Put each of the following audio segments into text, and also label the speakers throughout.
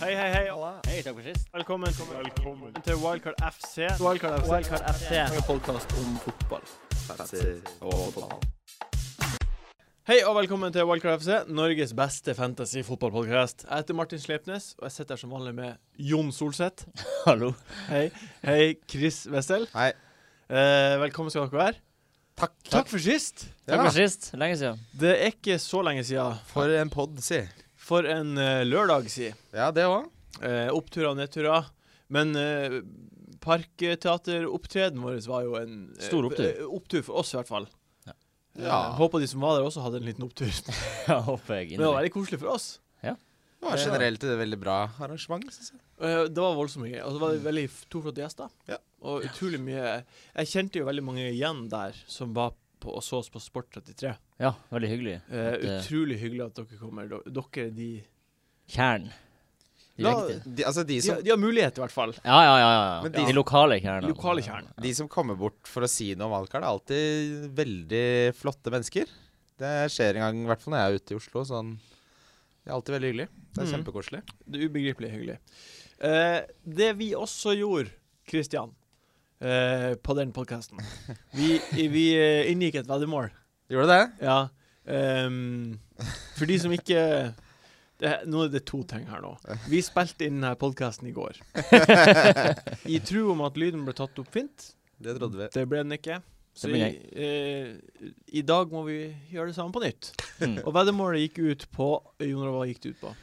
Speaker 1: Hei, hei, hei.
Speaker 2: Hei, takk for sist.
Speaker 1: Velkommen, til Wildcard FC.
Speaker 3: Wildcard FC.
Speaker 2: Wildcard FC.
Speaker 3: En podkast om fotball.
Speaker 1: Hei og velkommen til Wildcard FC, Norges beste fantasy-fotballpodkast. Jeg heter Martin Sleipnes, og jeg sitter her som vanlig med Jon Solseth.
Speaker 2: Hallo.
Speaker 1: Hei. Hei, Chris Wessel.
Speaker 4: Hei.
Speaker 1: Eh, velkommen skal dere være.
Speaker 4: Takk.
Speaker 1: Takk for sist.
Speaker 4: Ja,
Speaker 2: Takk for sist. Lenge siden.
Speaker 1: Det er ikke så lenge siden.
Speaker 4: for en pod, si.
Speaker 1: For en eh, lørdag siden.
Speaker 4: Ja, det òg.
Speaker 1: Eh, oppturer og nedturer. Men eh, parkteateropptredenen vår var jo en eh,
Speaker 2: Stor opptur.
Speaker 1: eh, Opptur for oss, i hvert fall.
Speaker 2: Ja.
Speaker 1: Eh, håper de som var der, også hadde en liten opptur.
Speaker 2: Ja, håper jeg
Speaker 1: Men det var
Speaker 2: inderlig.
Speaker 1: veldig koselig for oss.
Speaker 4: Det var generelt et veldig bra arrangement. Synes jeg.
Speaker 1: Eh, Det var voldsomt mye greier. Og så var det veldig f- to flotte gjester.
Speaker 4: Ja.
Speaker 1: Og utrolig mye Jeg kjente jo veldig mange igjen der som var på, og så oss på Sport 33.
Speaker 2: Ja, veldig hyggelig.
Speaker 1: Eh,
Speaker 2: At, eh,
Speaker 1: utrolig hyggelig at dere kommer. Do- Dere, de
Speaker 2: Kjern.
Speaker 1: La-
Speaker 2: Direkte.
Speaker 4: De, altså de
Speaker 1: de,
Speaker 4: som,
Speaker 1: har- de har mulighet, i hvert fall.
Speaker 2: Ja, ja, ja. ja.
Speaker 4: Men
Speaker 2: De,
Speaker 4: de-
Speaker 2: lokale kjernene.
Speaker 1: Lokale kjern.
Speaker 4: de som kommer bort for å si noe om valgkart, er alltid veldig flotte mennesker. Det skjer en gang, i hvert fall når jeg er ute i Oslo. Sånn. Det er alltid veldig hyggelig. Det er
Speaker 1: Mm.
Speaker 4: kjempekoselig.
Speaker 1: Det er ubegripelig hyggelig. Eh, det vi også gjorde, Kristian, eh, på den podkasten Vi, i- vi eh, inngikk et veddemål.
Speaker 4: Gjorde det?
Speaker 1: Ja. ehm, for de som ikke det, Nå er det to ting her nå. Vi spilte inn denne podkasten i går. I tro om at lyden ble tatt opp fint.
Speaker 4: Det trodde vi.
Speaker 1: Det ble den ikke. Så
Speaker 2: Det ble
Speaker 1: i, eh, i dag må vi gjøre det samme på nytt.
Speaker 2: Mm.
Speaker 1: Og veddemålet gikk ut på Jon Roar, hva gikk det ut på?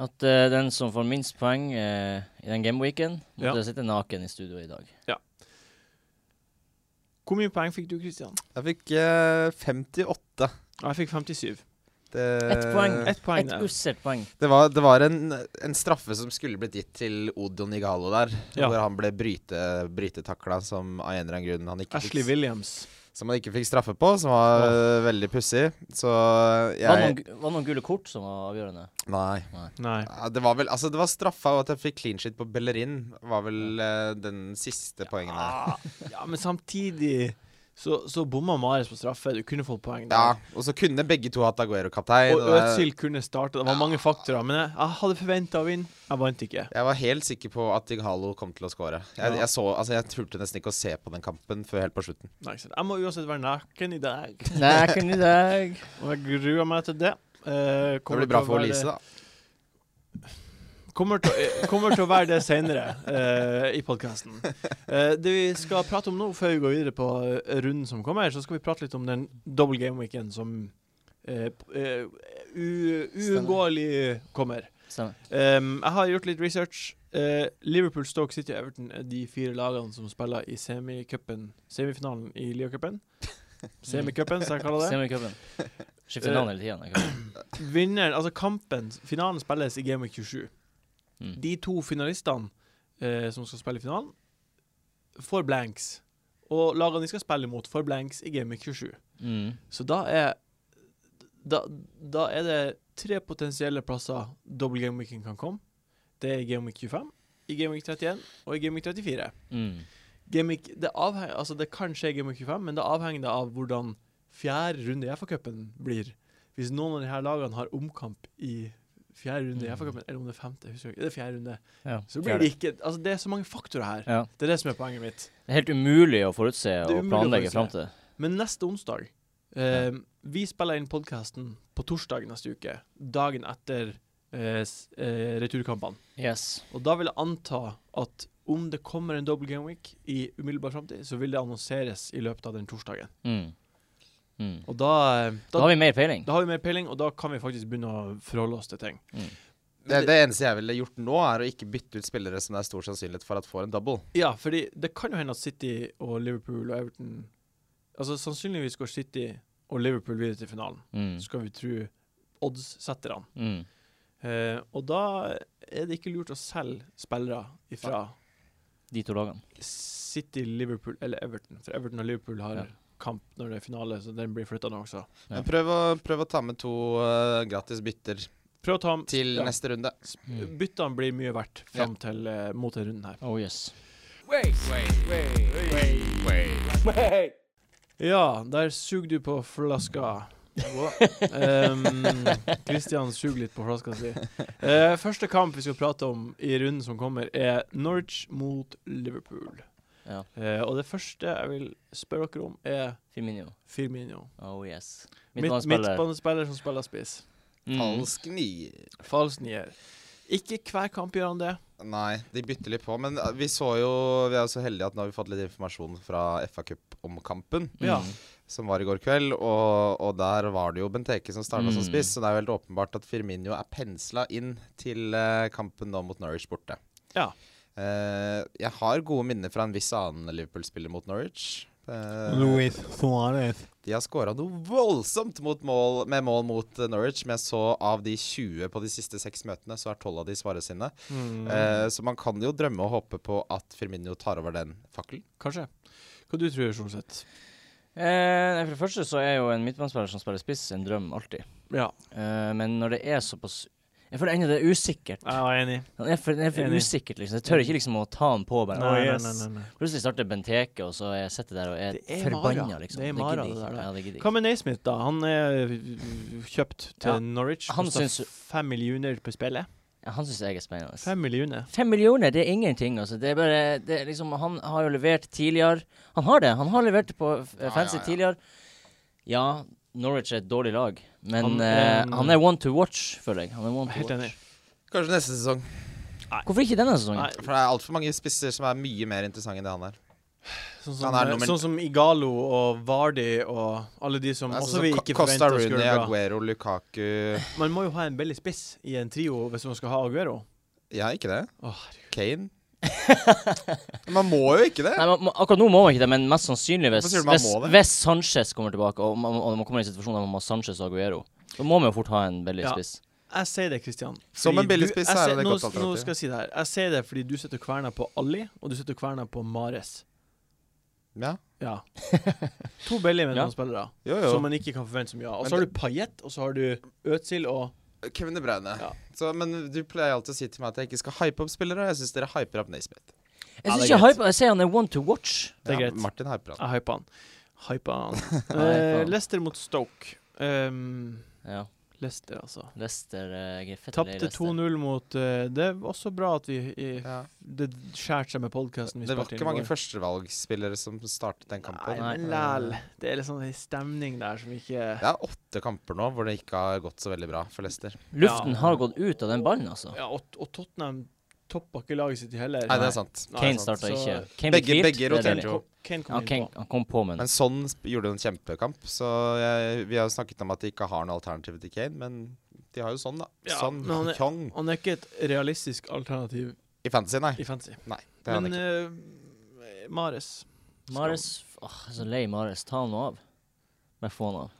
Speaker 2: At eh, den som får minst poeng eh, i den gameweeken, måtte
Speaker 1: Ja.
Speaker 2: sitte naken i studio i dag.
Speaker 1: Hvor mye poeng fikk du, Kristian?
Speaker 4: Jeg fikk eh, 58.
Speaker 1: Ja, jeg fikk 57.
Speaker 4: Det,
Speaker 2: Ett poeng.
Speaker 1: Eh, Ett poeng
Speaker 2: Et
Speaker 1: der.
Speaker 2: usselt poeng.
Speaker 4: Det var, det var en, en straffe som skulle blitt gitt til Odion Igalo der.
Speaker 1: Ja.
Speaker 4: Hvor han ble bryte, brytetakla som av en eller annen grunn han ikke
Speaker 1: Ashley
Speaker 4: fikk
Speaker 1: Williams.
Speaker 4: som han ikke fikk straffe på, som var øh, veldig pussig. Så
Speaker 2: Var det
Speaker 4: jeg
Speaker 2: noen, gu- var det noen gule kort som var avgjørende?
Speaker 4: Nei.
Speaker 1: Nei.
Speaker 4: Ja, Det var vel Altså, det var straffa, og at jeg fikk clean shit på Bellerin, var vel øh, den siste poengen der.
Speaker 1: Ah, ja, men samtidig så, så bomma Marius på straffe. Du kunne fått poeng
Speaker 4: Ja,
Speaker 1: der.
Speaker 4: og så kunne begge to hatt Aguero-kaptein.
Speaker 1: Og
Speaker 4: og det-
Speaker 1: Ødsild kunne starte. Det var mange faktorer. Men jeg, jeg hadde forventa å vinne. Jeg vant ikke.
Speaker 4: Jeg var helt sikker på at Ighalo kom til å score. Jeg,
Speaker 1: Ja.
Speaker 4: jeg, så, altså, jeg turte nesten ikke å se på den kampen før helt på slutten.
Speaker 1: Nei, ikke sant. Jeg må uansett være naken i dag.
Speaker 2: Naken i dag.
Speaker 1: Og jeg gruer meg til det. Eh,
Speaker 4: Det
Speaker 1: kommer
Speaker 4: blir
Speaker 1: til
Speaker 4: bra
Speaker 1: å
Speaker 4: for
Speaker 1: være
Speaker 4: Olise, da.
Speaker 1: det- Kommer, til- eh, kommer til å være det senere eh, i podkasten. det vi skal prate om nå, før vi går videre på eh, runden som kommer, så skal vi prate litt om den double game-weekend som eh, p- eh, u- uunngåelig kommer.
Speaker 2: Stemmer.
Speaker 1: Ehm, jeg har gjort litt research. Eh, Liverpool, Stoke City og Everton er de fire lagene som spiller i semicupen, semifinalen i Liacupen. Semicupen, som jeg kaller det.
Speaker 2: Semicupen. Skifter navn hele tida.
Speaker 1: Vinneren, altså kampen, finalen spilles i Game Week 27.
Speaker 2: Mm.
Speaker 1: De to finalistene eh, som skal spille i finalen, får blanks. Og lagene de skal spille imot, får blanks i Game Week 27.
Speaker 2: Mm.
Speaker 1: Så da er da, da er det tre potensielle plasser double game weekend kan komme. Det er i game week 25, i game week 31 og i game week 34.
Speaker 2: Mm.
Speaker 1: Game week, det, avheng, altså det kan skje i game week 25, men det avhenger det av hvordan fjerde runde i FA-cupen blir. Hvis noen av de her lagene har omkamp i fjerde runde i
Speaker 2: Mm.
Speaker 1: FA-cupen, eller om det er femte, jeg husker ikke, det er fjerde runde,
Speaker 2: Ja.
Speaker 1: så blir det ikke Altså, det er så mange faktorer her.
Speaker 2: ja.
Speaker 1: Det er det som er poenget mitt.
Speaker 2: Det er helt umulig å forutse
Speaker 1: Det er
Speaker 2: og
Speaker 1: umulig å
Speaker 2: planlegge
Speaker 1: forutse.
Speaker 2: fram til.
Speaker 1: Men neste onsdag eh, Vi spiller inn podkasten på torsdag neste uke. Dagen etter eh, s- eh, returkampene.
Speaker 2: Yes.
Speaker 1: Og da vil jeg anta at om det kommer en double game week i umiddelbar framtid, så vil det annonseres i løpet av den torsdagen.
Speaker 2: Mm. Mm.
Speaker 1: Og da, eh,
Speaker 2: Da har
Speaker 1: da,
Speaker 2: vi mer peiling.
Speaker 1: da har vi mer peiling, og da kan vi faktisk begynne å forholde oss til ting.
Speaker 2: Mm.
Speaker 4: Det, det eneste jeg ville gjort nå, er å ikke bytte ut spillere som det er stor sannsynlighet for at får en double.
Speaker 1: Ja, fordi det kan jo hende at City og Liverpool og Everton Altså sannsynligvis går City og Liverpool videre til finalen,
Speaker 2: Mm.
Speaker 1: skal vi tro oddssetterne.
Speaker 2: Mm.
Speaker 1: Eh, og da er det ikke lurt å selge spillere fra
Speaker 2: De to lagene.
Speaker 1: City, Liverpool eller Everton. For Everton og Liverpool har
Speaker 2: Ja.
Speaker 1: kamp når det er finale, så den blir flytta nå også.
Speaker 2: Ja.
Speaker 4: Men prøv å, prøv å ta med to øh, gratis bytter
Speaker 1: Prøv å ta
Speaker 4: til
Speaker 1: ja,
Speaker 4: neste runde.
Speaker 1: s- Byttene blir mye verdt fram til eh, mot denne runden her.
Speaker 2: Mm. Oh yes.
Speaker 1: Ja, der suger du på flaska. Kristian suger litt på flaska si. Eh, første kamp vi skal prate om i runden som kommer, er Norwich mot Liverpool.
Speaker 2: Ja.
Speaker 1: Eh, og det første jeg vil spørre dere om, er
Speaker 2: Firmino.
Speaker 1: Firmino.
Speaker 2: Oh yes.
Speaker 1: Midt-
Speaker 2: Midtbanespiller.
Speaker 1: Midtbanespiller som spiller spiss.
Speaker 2: Mm.
Speaker 4: Falsk nier.
Speaker 1: Falsk nier. Ikke hver kamp gjør han det.
Speaker 4: Nei, de bytter litt på. Men eh, vi så jo Vi er jo så heldige at nå har vi fått litt informasjon fra FA Cup om kampen
Speaker 1: Ja.
Speaker 2: Mm.
Speaker 4: som var i går kveld. Og, og der var det jo Benteke som starta som
Speaker 2: Mm.
Speaker 4: spiss, så det er jo helt åpenbart at Firmino er pensla inn til eh, kampen nå mot Norwich borte.
Speaker 1: Ja.
Speaker 4: Eh, jeg har gode minner fra en viss annen Liverpool-spiller mot Norwich. Eh,
Speaker 1: Suárez.
Speaker 4: de har skåra noe voldsomt mot mål, med mål mot eh, Norwich, men jeg så av de 20 på de siste seks møtene, så er 12 av de svaret sine.
Speaker 1: Hmm.
Speaker 4: Eh, så man kan jo drømme og håpe på at Firmino tar over den fakkelen.
Speaker 1: Kanskje. Hva du tror du, Solseth?
Speaker 2: Eh, nei, for det første så er jo en midtbanespiller som spiller spiss, en drøm alltid.
Speaker 1: Ja,
Speaker 2: Eh, men når det er såpass Jeg føler ennå det er usikkert.
Speaker 1: jeg er enig.
Speaker 2: Det er for, det er for
Speaker 1: Enig.
Speaker 2: usikkert, liksom. Jeg tør ikke liksom å ta han på bare.
Speaker 1: Nei,
Speaker 2: «Å,
Speaker 1: nei,
Speaker 2: yes».
Speaker 1: nei, nei, nei.
Speaker 2: Plutselig starter Benteke, og så er jeg sitter der og er,
Speaker 1: Det er mara.
Speaker 2: forbanna, liksom.
Speaker 1: Det er mara, det
Speaker 2: gidder jeg
Speaker 1: der,
Speaker 2: ikke.
Speaker 1: det.
Speaker 2: Ja, det gidder jeg
Speaker 1: Hva med Naismith, da? Han er øh, kjøpt til
Speaker 2: Ja,
Speaker 1: Norwich.
Speaker 2: han
Speaker 1: Kostet
Speaker 2: syns-
Speaker 1: fem millioner på spillet.
Speaker 2: ikke. Ja, han syns jeg er spennende.
Speaker 1: Fem millioner.
Speaker 2: Fem millioner, det er ingenting. Altså. Det er bare, det er liksom, han har jo levert tidligere. Han har det. Han har levert på eh,
Speaker 4: Ja,
Speaker 2: fancy
Speaker 4: ja, ja.
Speaker 2: tidligere. Ja, Norwich er et dårlig lag, men
Speaker 1: Han
Speaker 2: han,
Speaker 1: er-
Speaker 2: han er one to watch, føler jeg. Han er one to
Speaker 1: Helt
Speaker 2: watch.
Speaker 1: enig.
Speaker 4: Kanskje neste sesong.
Speaker 2: Hvorfor ikke denne sesongen?
Speaker 1: Nei,
Speaker 4: For det er altfor mange spisser som er mye mer interessante enn det han er.
Speaker 1: sånn, som,
Speaker 4: Han er nummer-
Speaker 1: sånn som Igalo og Vardi og alle de som
Speaker 4: Det er
Speaker 1: også
Speaker 4: sånn
Speaker 1: vi
Speaker 4: som
Speaker 1: ikke
Speaker 4: Ko- Costa
Speaker 1: forventa skulle
Speaker 4: Rooney,
Speaker 1: gjøre bra.
Speaker 4: Aguero, Lukaku
Speaker 1: Man må jo ha en billig spiss i en trio hvis man skal ha Aguero.
Speaker 4: Ja, ikke det?
Speaker 1: Å, herregud.
Speaker 4: Kane? Man må jo ikke det!
Speaker 2: Nei, man, man, akkurat nå må man ikke det, men mest sannsynlig hvis,
Speaker 4: Hvorfor sier du man
Speaker 2: hvis,
Speaker 4: må det?
Speaker 2: hvis Sanchez kommer tilbake, og man, og man kommer i en situasjon der man må ha Sanchez og Aguero, så må man jo fort ha en billig
Speaker 1: Ja.
Speaker 2: spiss.
Speaker 1: Jeg sier det, Kristian.
Speaker 4: Som en billig spiss er det et godt
Speaker 1: Nå
Speaker 4: alternativ.
Speaker 1: skal jeg si det her. Jeg sier det fordi du sitter kverna på Ali, og du sitter kverna på Mares.
Speaker 4: Ja.
Speaker 1: Ja. To billige med
Speaker 2: Ja.
Speaker 1: noen spillere
Speaker 4: Jo, jo.
Speaker 1: som man ikke kan forvente så mye av. Og
Speaker 4: Men
Speaker 1: så har du Payet, og så har du Øtzil og
Speaker 4: Kevin De Bruyne.
Speaker 1: Ja.
Speaker 4: Så, men du pleier alltid å si til meg at jeg ikke skal hype opp spillere, og jeg syns dere hyper opp Naismith.
Speaker 2: Jeg
Speaker 1: Ja,
Speaker 2: synes
Speaker 1: det er
Speaker 2: ikke hype, jeg sier han er one to watch.
Speaker 1: Det er greit. Ah,
Speaker 4: Martin hyper opp.
Speaker 1: Jeg hypa han. Hypa han.
Speaker 2: Hypa
Speaker 1: Eh,
Speaker 2: han.
Speaker 1: Leicester mot Stoke. Um,
Speaker 2: Ja,
Speaker 1: Leicester, altså.
Speaker 2: Lester uh,
Speaker 1: Tapte 2-0 mot eh, Det var også bra at vi i,
Speaker 4: Ja.
Speaker 1: Det skjærte seg med podkasten vi
Speaker 4: Det var
Speaker 1: spilte inn.
Speaker 4: ikke mange førstevalgsspillere som startet den kampen.
Speaker 1: Nei, men læl. Det er liksom en stemning der som ikke
Speaker 4: Det er åtte kamper nå hvor det ikke har gått så veldig bra for Leicester.
Speaker 2: Luften
Speaker 1: Ja.
Speaker 2: har gått ut av den ballen, altså.
Speaker 1: Ja, og, og Tottenham toppa ikke laget sitt heller.
Speaker 4: Nei, det er sant.
Speaker 1: Nei,
Speaker 2: Kane
Speaker 1: sant.
Speaker 2: starta
Speaker 1: Så-
Speaker 2: ikke. Kane ble
Speaker 4: Begge-
Speaker 2: hvilt,
Speaker 4: begge
Speaker 2: det er
Speaker 4: roterer
Speaker 2: deilig.
Speaker 4: jo.
Speaker 1: Kane kom
Speaker 2: Ja,
Speaker 1: inn
Speaker 2: Kane
Speaker 1: på.
Speaker 2: han kom på med
Speaker 4: Men
Speaker 2: den.
Speaker 4: sånn sp- gjorde jo en kjempekamp, så jeg, vi har jo snakket om at de ikke har noe alternativ til Kane, men de har jo sånn, da.
Speaker 1: Ja,
Speaker 4: sånn
Speaker 1: men han er-
Speaker 4: Kyong
Speaker 1: Han er ikke et realistisk alternativ
Speaker 4: i fantasy, nei.
Speaker 1: i fantasy.
Speaker 4: Nei, det er
Speaker 1: Men
Speaker 4: han ikke.
Speaker 1: eh, Mares
Speaker 2: Mares Åh, jeg er så lei Mares. Ta han nå av. Bare få han av.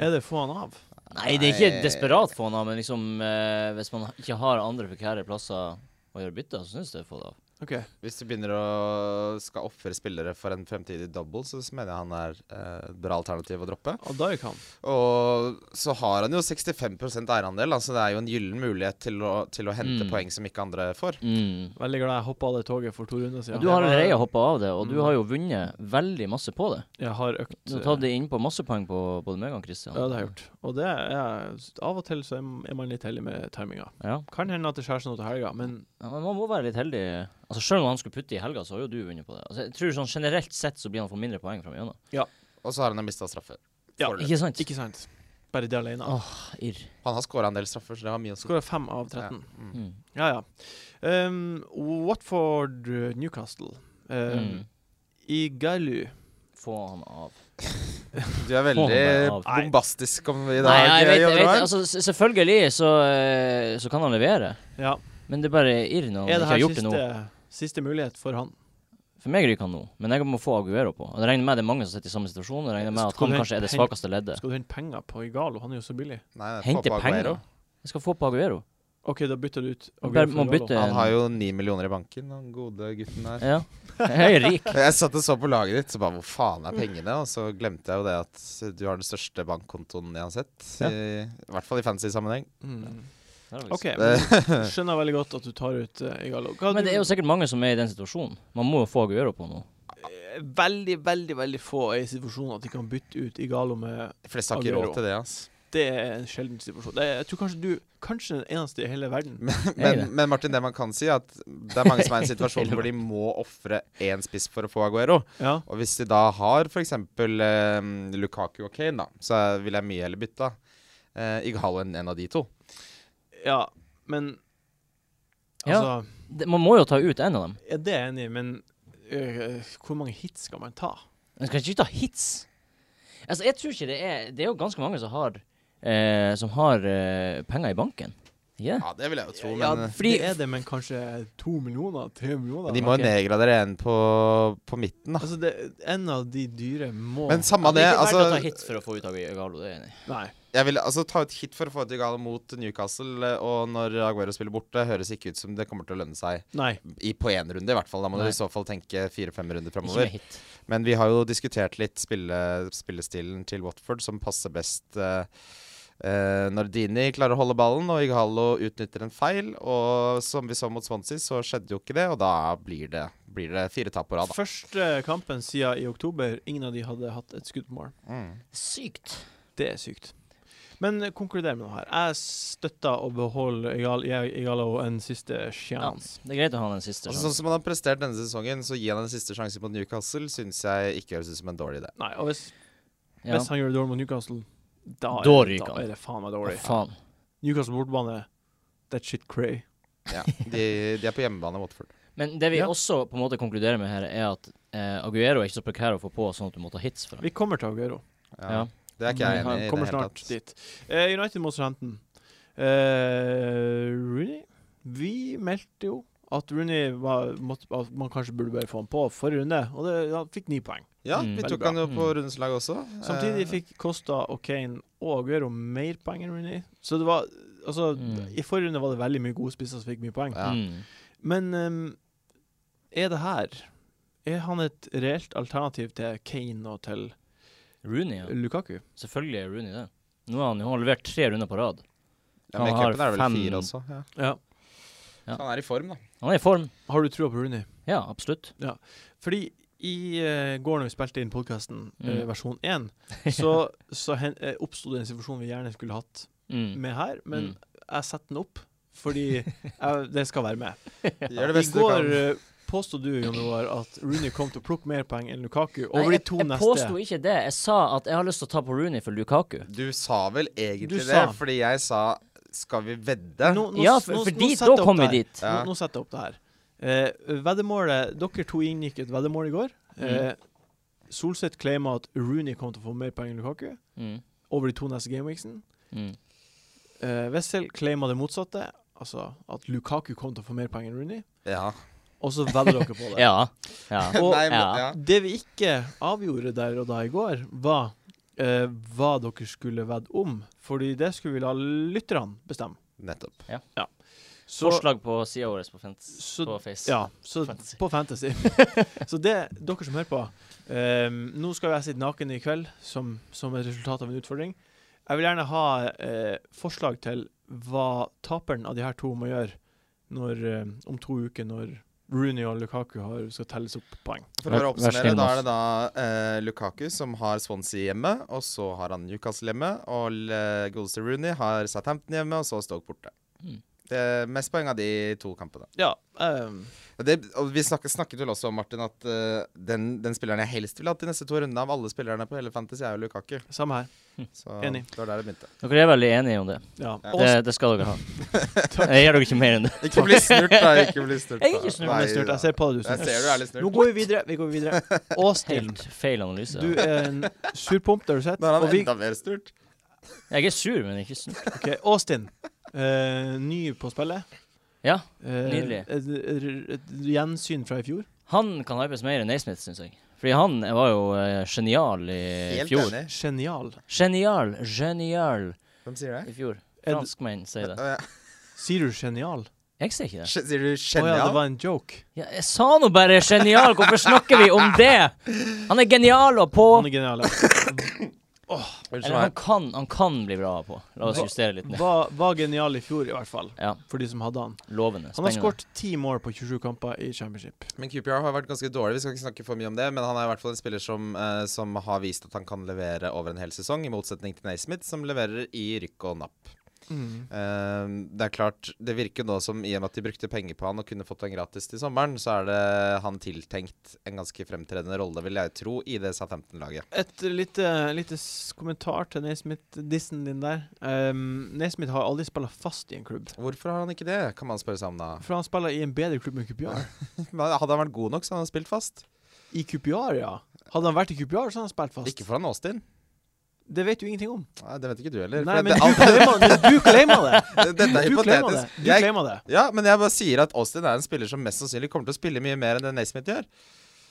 Speaker 1: Er det få han av?
Speaker 2: Nei, det er ikke
Speaker 4: Nei.
Speaker 2: desperat få han av, men liksom eh, hvis man ikke har andre prekære plasser å gjøre bytte, så syns jeg det er få det av.
Speaker 1: OK.
Speaker 4: Hvis du begynner å skal ofre spillere for en fremtidig double, så så mener jeg han er eh, et bra alternativ å droppe.
Speaker 1: Og da gikk han.
Speaker 4: Og så har han jo 65 eierandel, altså det er jo en gyllen mulighet til å, til å hente
Speaker 2: Mm.
Speaker 4: poeng som ikke andre får.
Speaker 2: Mm.
Speaker 1: Veldig glad jeg hoppa av det toget for to runder
Speaker 2: Men
Speaker 1: siden.
Speaker 2: Du har
Speaker 1: Jeg var-
Speaker 2: allerede hoppa av det, og du
Speaker 1: Mm.
Speaker 2: har jo vunnet veldig masse på det.
Speaker 1: Jeg har økt
Speaker 2: Du har
Speaker 1: eh,
Speaker 2: tatt det inn på masse poeng på både meg og Christian.
Speaker 1: Ja, det har jeg gjort. Og det er Av og til så er er man litt heldig med timinga.
Speaker 2: Ja.
Speaker 1: Kan hende at det skjer seg noe til helga, men
Speaker 2: Ja, men man må være litt heldig. Altså Selv om han skulle putte i helga, så har jo du vunnet på det. Altså jeg tror sånn Generelt sett så blir han for mindre poeng framigjennom.
Speaker 4: Og så har han jo mista straffer.
Speaker 1: Ja,
Speaker 4: Foreløpig.
Speaker 2: Ikke sant?
Speaker 1: ikke sant. Bare det alene.
Speaker 2: Åh, irr.
Speaker 4: Han har skåra en del straffer, så det har mye å si.
Speaker 1: Skåra fem av 13.
Speaker 4: Ja. Mm.
Speaker 2: Mm.
Speaker 1: Ja, ja. Um, Watford uh, Newcastle. Um,
Speaker 2: Mm.
Speaker 1: I Galu
Speaker 2: Få han av.
Speaker 4: Du er
Speaker 2: Få han
Speaker 4: veldig
Speaker 2: bare av.
Speaker 1: Nei.
Speaker 4: bombastisk om i dag.
Speaker 2: Nei,
Speaker 1: eh,
Speaker 2: jeg vet, jeg
Speaker 4: Jonny
Speaker 2: vet
Speaker 4: Wang.
Speaker 2: altså, s- Selvfølgelig så, eh, så kan han levere,
Speaker 1: Ja.
Speaker 2: men det er bare irr når han
Speaker 1: Er det
Speaker 2: ikke har
Speaker 1: her
Speaker 2: gjort
Speaker 1: siste,
Speaker 2: det nå.
Speaker 1: siste mulighet for han?
Speaker 2: For meg ryker han nå, men jeg må få Aguero på. Jeg regner med det er mange som sitter i samme situasjon. Jeg regner med at
Speaker 1: Skulle
Speaker 2: han
Speaker 1: du
Speaker 2: kanskje er det
Speaker 1: hente-
Speaker 2: svakeste leddet.
Speaker 1: Skal du hente penger på Igalo? Han er jo så billig.
Speaker 4: Nei, få
Speaker 2: Hente
Speaker 4: på Aguero.
Speaker 2: penger. Jeg skal få på Aguero.
Speaker 1: OK, da bytter du ut
Speaker 2: Man
Speaker 1: Aguero
Speaker 2: bare-
Speaker 1: for
Speaker 2: man
Speaker 1: Igalo.
Speaker 2: bytter-
Speaker 4: Han har jo ni millioner i banken, den gode gutten der.
Speaker 2: Ja. Jeg er rik.
Speaker 4: Jeg satt og så på laget ditt, så bare hvor faen er pengene? Og så glemte jeg jo det at du har den største bankkontoen jeg har sett.
Speaker 1: Ja.
Speaker 4: I, I hvert fall i fancy sammenheng.
Speaker 1: Mm.
Speaker 2: Det er
Speaker 1: OK,
Speaker 4: Eh,
Speaker 2: faktisk-
Speaker 1: men skjønner veldig godt at du tar ut uh, Igalo. Hva du-
Speaker 2: Men det er jo sikkert mange som er i den situasjonen. Man må jo få Aguero på nå.
Speaker 1: Eh, veldig, veldig veldig få er i situasjonen at de kan bytte ut Igalo med
Speaker 4: De fleste har ikke råd
Speaker 1: Aguero.
Speaker 4: til det, altså. ass.
Speaker 1: Det er en sjelden situasjon. Det er, jeg tror kanskje du Kanskje den eneste i hele verden.
Speaker 4: Men, men Martin, det man kan si, er at det er mange som er i en situasjon hvor de må ofre én spiss for å få Aguero.
Speaker 1: Ja.
Speaker 4: Og hvis de da har f.eks. Eh, Lukaku og Kane, da, så er- vil jeg mye heller bytte eh, Igalo enn en av de to.
Speaker 1: ja men
Speaker 2: Ja.
Speaker 1: Altså,
Speaker 2: Det, man må jo ta ut en av dem.
Speaker 1: ja, det er jeg enig i, men øh, hvor mange hits skal man ta?
Speaker 2: Man skal ikke ta hits. Altså, jeg tror ikke det er Det er jo ganske mange som har eh, Som har eh, penger i banken. Ikke det?
Speaker 4: Ja, det vil jeg jo tro,
Speaker 1: ja,
Speaker 4: men eh,
Speaker 1: fordi,
Speaker 2: fordi-
Speaker 1: det er det, men kanskje to millioner? Tre millioner?
Speaker 4: de må
Speaker 2: ok.
Speaker 4: jo nedgradere en på, på midten, da.
Speaker 1: Altså, det, en av de dyre må
Speaker 4: Men samme det,
Speaker 2: det er ikke verdt å ta
Speaker 4: altså,
Speaker 2: hits for å få ut av Galo, det er jeg enig i.
Speaker 1: Nei.
Speaker 4: jeg vil, altså ta ut hit for å få ut Igalo mot Newcastle, eh, og når Aguero spiller borte, høres ikke ut som det kommer til å lønne seg
Speaker 1: Nei.
Speaker 4: i, på én runde, i hvert fall. Da må du
Speaker 2: Nei.
Speaker 4: i så fall tenke fire-fem runder
Speaker 2: Ikke
Speaker 4: framover.
Speaker 2: med hit.
Speaker 4: Men vi har jo diskutert litt spille, spillestilen til Watford, som passer best eh, eh, når Dini klarer å holde ballen og Igalo utnytter en feil. Og som vi så mot Swansea, så skjedde jo ikke det, og da blir det, blir det fire tap på rad. Da.
Speaker 1: Første kampen siden i oktober, ingen av de hadde hatt et skudd på mål.
Speaker 4: Mm.
Speaker 2: Sykt.
Speaker 1: Det er sykt. Men eh, konkluder med noe her. Jeg støtter å beholde Igal- jeg- Igalo en siste
Speaker 2: Ja,
Speaker 1: sjanse.
Speaker 2: det er greit å ha den siste.
Speaker 4: Altså,
Speaker 2: sjansen.
Speaker 4: sånn som han har prestert denne sesongen, så gi han en siste sjanse mot Newcastle syns jeg ikke høres ut som en dårlig idé.
Speaker 1: Nei, og hvis,
Speaker 2: Ja.
Speaker 1: hvis han gjør det dårlig mot Newcastle, da er,
Speaker 2: Da
Speaker 1: det,
Speaker 2: ryker
Speaker 1: da
Speaker 2: han.
Speaker 1: er det faen meg
Speaker 2: Å,
Speaker 1: dårlig.
Speaker 2: faen.
Speaker 1: Newcastle bortebane, that shit cray.
Speaker 4: Ja, de, de er på hjemmebane, Watford.
Speaker 2: Men det vi
Speaker 1: Ja.
Speaker 2: også på en måte konkluderer med her, er at eh, Aguero er ikke så prekær å få på sånn at du må ta hits for ham.
Speaker 1: Vi kommer til Aguero.
Speaker 4: Ja.
Speaker 2: Ja.
Speaker 4: Det er ikke jeg
Speaker 1: Han
Speaker 4: enig i. i
Speaker 1: Mm, kommer
Speaker 4: det hele
Speaker 1: snart
Speaker 4: tatt.
Speaker 1: dit. Eh, United mot Southampton. Eh, Rooney Vi meldte jo at Rooney var, måtte, at man kanskje burde bare få han på forrige runde, og det, han fikk ni poeng.
Speaker 4: Ja,
Speaker 2: Mm.
Speaker 4: vi
Speaker 1: Veldig
Speaker 4: tok
Speaker 1: bra.
Speaker 4: han jo på
Speaker 2: Mm.
Speaker 4: rundens lag også.
Speaker 1: Samtidig
Speaker 4: Eh,
Speaker 1: fikk Costa og Kane og Aguero mer poeng enn Rooney. Så det var Altså,
Speaker 2: Mm.
Speaker 1: i forrige runde var det veldig mye gode spisser som fikk mye poeng.
Speaker 4: Ja.
Speaker 2: Mm.
Speaker 1: Men ehm, er det her Er han et reelt alternativ til Kane og til
Speaker 2: Rooney, ja.
Speaker 1: Lukaku?
Speaker 2: Selvfølgelig er Rooney det. Nå har han jo levert tre runder på rad.
Speaker 4: ja, men i
Speaker 2: han har
Speaker 4: cupen er det vel
Speaker 2: fem-
Speaker 4: fire også. Ja.
Speaker 1: Ja.
Speaker 2: Ja.
Speaker 4: Så han er i form, da.
Speaker 2: Han er i form.
Speaker 1: Har du trua på Rooney?
Speaker 2: Ja, absolutt.
Speaker 1: Fordi i eh, går når vi spilte inn podkasten,
Speaker 2: Mm.
Speaker 1: versjon 1, så, så hen- eh, oppsto det en situasjon vi gjerne skulle hatt
Speaker 2: Mm.
Speaker 1: med her, men
Speaker 2: Mm.
Speaker 1: jeg setter den opp fordi jeg, det skal være med.
Speaker 4: Gjør det
Speaker 1: I
Speaker 4: beste du
Speaker 1: går
Speaker 4: kan.
Speaker 1: eh, påstod du, Jon Roar, at Rooney kom til å plukke mer poeng enn Lukaku over de
Speaker 2: Nei,
Speaker 1: to
Speaker 2: jeg, jeg
Speaker 1: neste.
Speaker 2: påsto ikke det. Jeg sa at jeg har lyst til å ta på Rooney for Lukaku.
Speaker 4: Du sa vel egentlig
Speaker 1: Du sa.
Speaker 4: det, fordi jeg sa skal vi vedde?
Speaker 1: Nå- nå-
Speaker 2: Ja,
Speaker 1: nå-
Speaker 2: for,
Speaker 1: nå
Speaker 2: for dit,
Speaker 1: setter jeg
Speaker 2: da
Speaker 1: opp
Speaker 2: kom
Speaker 1: det
Speaker 2: vi
Speaker 1: her.
Speaker 2: dit.
Speaker 4: Ja.
Speaker 1: Nå, nå setter jeg opp det her. Eh, veddemålet Dere to inngikk et veddemål i går.
Speaker 4: Mm.
Speaker 1: Eh, Solseth claima at Rooney kom til å få mer poeng enn Lukaku
Speaker 2: Mm.
Speaker 1: over de to neste gameweeksene.
Speaker 2: Mm.
Speaker 1: Eh, Wessel claima det motsatte, altså at Lukaku kom til å få mer poeng enn Rooney.
Speaker 4: Ja.
Speaker 1: Og så vedder dere på det.
Speaker 2: Ja. ja.
Speaker 1: Og-
Speaker 4: Nei, men,
Speaker 2: ja.
Speaker 4: ja.
Speaker 1: Det vi ikke avgjorde der og da i går, var eh, hva dere skulle vedde om. Fordi det skulle vi la lytterne bestemme.
Speaker 4: Nettopp.
Speaker 1: Så,
Speaker 2: Forslag på sida vår på, Fants-
Speaker 1: Så-
Speaker 2: på Face.
Speaker 1: Ja, så
Speaker 2: Fantasy.
Speaker 1: på Fantasy. så det, dere som hører på ehm, Nå skal jo jeg sitte naken i kveld, som, som et resultat av en utfordring. Jeg vil gjerne ha eh, forslag til hva taperen av de her to må gjøre når, eh, om to uker, når Rooney og Lukaku har, skal telles opp poeng.
Speaker 4: For å bare
Speaker 2: Vær- vær
Speaker 4: oppsummere,
Speaker 2: snill,
Speaker 4: da
Speaker 2: Mats.
Speaker 4: er det da eh, Lukaku som har Swansea hjemme, og så har han Newcastle hjemme, og uh, Goldster Rooney har Southampton hjemme, og så Stoke borte.
Speaker 2: Mm.
Speaker 4: Det er mest poeng av de to kampene.
Speaker 1: Ja. ehm,
Speaker 4: Og Det, og vi snakket, snakket vel også om, Martin, at eh, den, den spilleren jeg helst ville hatt de neste to rundene av alle spillerne på hele Fantasy, er jo Lukaku.
Speaker 1: samme her.
Speaker 4: Så
Speaker 1: Enig.
Speaker 4: det var der det begynte.
Speaker 2: Dere er veldig enige om det.
Speaker 1: Ja.
Speaker 4: Ja.
Speaker 1: Og
Speaker 2: Det, det skal dere ha. Jeg gir dere ikke mer enn det.
Speaker 4: Ikke bli snurt, da. Ikke bli snurt.
Speaker 2: Jeg er
Speaker 4: da.
Speaker 2: ikke snurt,
Speaker 1: Nå ble jeg
Speaker 4: Nei,
Speaker 1: snurt.
Speaker 4: da.
Speaker 1: Jeg ser på deg, du.
Speaker 4: Jeg
Speaker 1: Snorre.
Speaker 4: ser du er litt snurt.
Speaker 1: Nå går vi videre. Vi går videre. Åstin,
Speaker 2: Helt feil analyse.
Speaker 1: du
Speaker 2: ja.
Speaker 1: er en surpomp, det har du sett.
Speaker 4: Nå er
Speaker 1: Og
Speaker 4: han
Speaker 1: vi
Speaker 4: enda mer snurt.
Speaker 2: Jeg er sur, men ikke snurt.
Speaker 1: Ok, Austin. Eh, ny på spillet.
Speaker 2: Ja.
Speaker 1: Eh,
Speaker 2: Nydelig.
Speaker 1: Et, et, et gjensyn fra i fjor.
Speaker 2: Han kan hypes mer enn Naismith, syns jeg. Fordi han var jo eh, genial i
Speaker 4: Helt
Speaker 2: fjor.
Speaker 4: enig.
Speaker 1: Genial.
Speaker 2: Genial, genial
Speaker 4: Hvem sier det?
Speaker 2: i fjor.
Speaker 1: Er det-
Speaker 2: Franskmenn sier det.
Speaker 4: Å, ja.
Speaker 1: Sier du genial?
Speaker 2: Jeg sier ikke det.
Speaker 4: Skj- Sier
Speaker 1: Å
Speaker 4: du
Speaker 1: ja, det
Speaker 4: genial?
Speaker 1: var en joke.
Speaker 2: Ja, jeg sa nå bare genial, hvorfor snakker vi om det? Han er genial og på
Speaker 1: Han er genial. ja.
Speaker 4: Eller
Speaker 2: Eller
Speaker 4: som
Speaker 2: han
Speaker 4: er
Speaker 2: kan, han kan bli bra på. La oss justere litt ned.
Speaker 1: Var, var genial i fjor, i hvert fall.
Speaker 2: Ja,
Speaker 1: For de som hadde han.
Speaker 2: lovende.
Speaker 1: Han har
Speaker 2: Spennende.
Speaker 1: skåret ti mål på 27 kamper i championship.
Speaker 4: Men QPR har vært ganske dårlig, vi skal ikke snakke for mye om det. Men han er i hvert fall en spiller som, eh, som har vist at han kan levere over en hel sesong, i motsetning til Naismith, som leverer i rykk og napp.
Speaker 2: Mm.
Speaker 4: Eh, det er klart, det virker nå som i og med at de brukte penger på han og kunne fått han gratis til sommeren, så er det han tiltenkt en ganske fremtredende rolle, vil jeg tro, i det SA15-laget.
Speaker 1: Et lite, lite s- kommentar til Naismith-dissen din der. Um, Naismith har aldri spilt fast i en klubb.
Speaker 4: Hvorfor har han ikke det, kan man spørre seg om da.
Speaker 1: For han spiller i en bedre klubb enn QPR.
Speaker 4: Men Hadde han vært god nok, så hadde han spilt fast.
Speaker 1: I QPR, ja. Hadde han vært i QPR, så hadde han spilt fast.
Speaker 4: Ikke foran Austin.
Speaker 1: Det vet du ingenting om.
Speaker 4: Nei, det vet ikke du heller.
Speaker 1: Nei,
Speaker 4: for
Speaker 1: men
Speaker 4: det,
Speaker 1: du claima det! Du claima det.
Speaker 4: alt, dette er
Speaker 1: Du claima det.
Speaker 4: hypotetisk.
Speaker 1: Du
Speaker 4: Jeg,
Speaker 1: claima det.
Speaker 4: ja, men jeg bare sier at Austin er en spiller som mest sannsynlig kommer til å spille mye mer enn det Naismith gjør.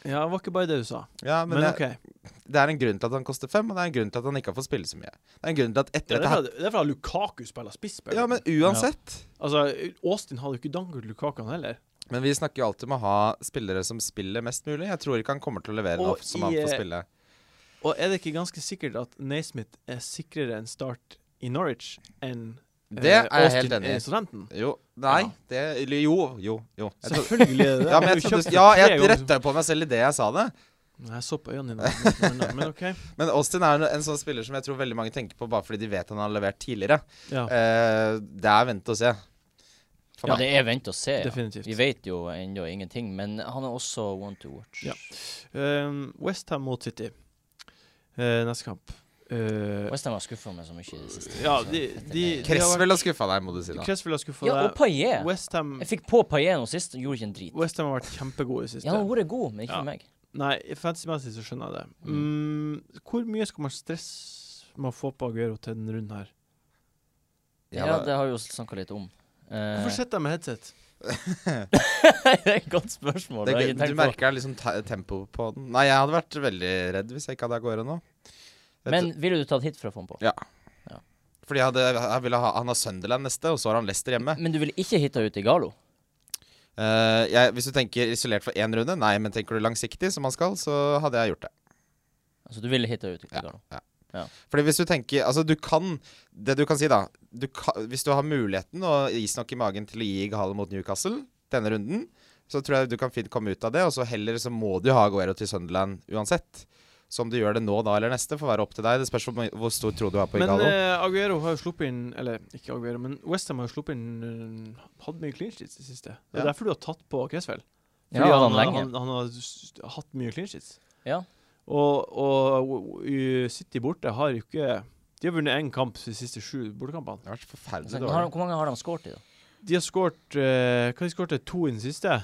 Speaker 1: Ja, det var ikke bare det du sa.
Speaker 4: Ja, men,
Speaker 1: Men
Speaker 4: jeg,
Speaker 1: OK.
Speaker 4: Det er en grunn til at han koster fem, og det er en grunn til at han ikke har fått spille så mye. Det er en grunn til at
Speaker 1: Det
Speaker 4: etter
Speaker 1: er
Speaker 4: dette her
Speaker 1: derfor, det er derfor Lukaku spiller spiss.
Speaker 4: Ja, men uansett
Speaker 1: Altså, Austin hadde jo ikke danket Lukaku han heller.
Speaker 4: Men vi snakker jo alltid om å ha spillere som spiller mest mulig. Jeg tror ikke han kommer til å levere
Speaker 1: Og
Speaker 4: noe som han
Speaker 1: i,
Speaker 4: får
Speaker 1: eh,
Speaker 4: spille.
Speaker 1: Og er det ikke ganske sikkert at Naismith er sikrere en start i Norwich enn eh,
Speaker 4: Det er jeg
Speaker 1: Austin
Speaker 4: helt
Speaker 1: i
Speaker 4: enig i.
Speaker 1: Southampton?
Speaker 4: Jo, nei
Speaker 2: Ja.
Speaker 4: det, eller Jo, jo, jo. Jeg tror,
Speaker 1: Selvfølgelig er det det.
Speaker 4: ja,
Speaker 1: Han
Speaker 4: men jeg,
Speaker 1: har jo
Speaker 4: trodde,
Speaker 1: kjøpt
Speaker 4: ja,
Speaker 1: for tre
Speaker 4: jeg
Speaker 1: ganger-
Speaker 4: retta jo på meg selv idet jeg sa det.
Speaker 1: Nei, Jeg så på øynene dine, men OK.
Speaker 4: Men Austin er en sånn spiller som jeg tror veldig mange tenker på bare fordi de vet han har levert tidligere.
Speaker 1: Ja,
Speaker 4: Eh, det er vente og se.
Speaker 2: Ja, det er vent og
Speaker 4: Eh,
Speaker 2: se. Ja.
Speaker 1: definitivt.
Speaker 2: Vi vet jo ennå ingenting, men han er også one to watch.
Speaker 1: Ja. Um, Westham mot City Eh, neste kamp. Eh,
Speaker 2: Westham har skuffa meg så mye i det siste.
Speaker 1: ja,
Speaker 2: så
Speaker 1: de,
Speaker 2: det-
Speaker 1: de, de har vært-
Speaker 4: Cresswell har skuffa deg, må du si da.
Speaker 1: Cresswell har skuffa
Speaker 2: Ja, og
Speaker 1: deg.
Speaker 2: Paillet.
Speaker 1: Westham
Speaker 2: Jeg fikk på Paillet nå sist, og gjorde ikke en drit.
Speaker 1: West Ham har vært kjempegode i det siste.
Speaker 2: Ja, han har vært god, men ikke
Speaker 1: Ja.
Speaker 2: for meg.
Speaker 1: Nei, fantasy-messig så skjønner jeg det. Mm, hvor mye skal man stresse med å få på Aguero til den runden her?
Speaker 4: Ja,
Speaker 2: Ja,
Speaker 4: da-
Speaker 2: det har vi jo snakka litt om. Eh,
Speaker 1: Hvorfor sitter jeg med headset?
Speaker 2: det er et godt spørsmål.
Speaker 4: Det,
Speaker 2: Det, har jeg ikke
Speaker 4: er gøy. du
Speaker 2: tenkt på.
Speaker 4: merker liksom te- tempoet på den. Nei, jeg hadde vært veldig redd hvis jeg ikke hadde Aguero nå. Vet
Speaker 2: Men
Speaker 4: du-
Speaker 2: ville du tatt hit for å få han på?
Speaker 4: Fordi jeg hadde, jeg ville ha, han har Sunderland neste, og så har han Leicester hjemme.
Speaker 2: Men du ville ikke hitta ut i Galo?
Speaker 4: Eh, jeg, hvis du tenker isolert for én runde, nei, men tenker du langsiktig, som man skal, så hadde jeg gjort det.
Speaker 2: Altså, du ville hitta ut i Galo?
Speaker 4: Fordi hvis du tenker Altså, du kan Det du kan si, da du kan, Hvis du har mulighten og is nok i magen til å gi Gale mot Newcastle denne runden, så tror jeg du kan fint komme ut av det, og så heller så må du ha Aguero til Sunderland uansett. Så om du gjør det nå, da eller neste, får være opp til deg. Det spørs hvor, mye- hvor stor tro du har på
Speaker 1: Men
Speaker 4: Igalo.
Speaker 1: eh, Aguero har jo sluppet inn Eller ikke Aguero, men Westham har jo sluppet inn uh, Hatt mye clean sheets i det siste. Det er
Speaker 4: Ja.
Speaker 1: derfor du har tatt på Cresswell.
Speaker 2: Ja,
Speaker 1: Fordi han,
Speaker 2: han, lenge.
Speaker 1: han, han har s- hatt mye clean sheets.
Speaker 2: Ja.
Speaker 1: Og, og og City borte har jo ikke De har vunnet én kamp de siste sju bortekampene.
Speaker 4: Det har vært forferdelig
Speaker 2: Men har,
Speaker 4: dårlig.
Speaker 2: hvor mange har de skåret i, da?
Speaker 1: De har skåret eh, Hva de skåret to i den siste?
Speaker 2: Ja,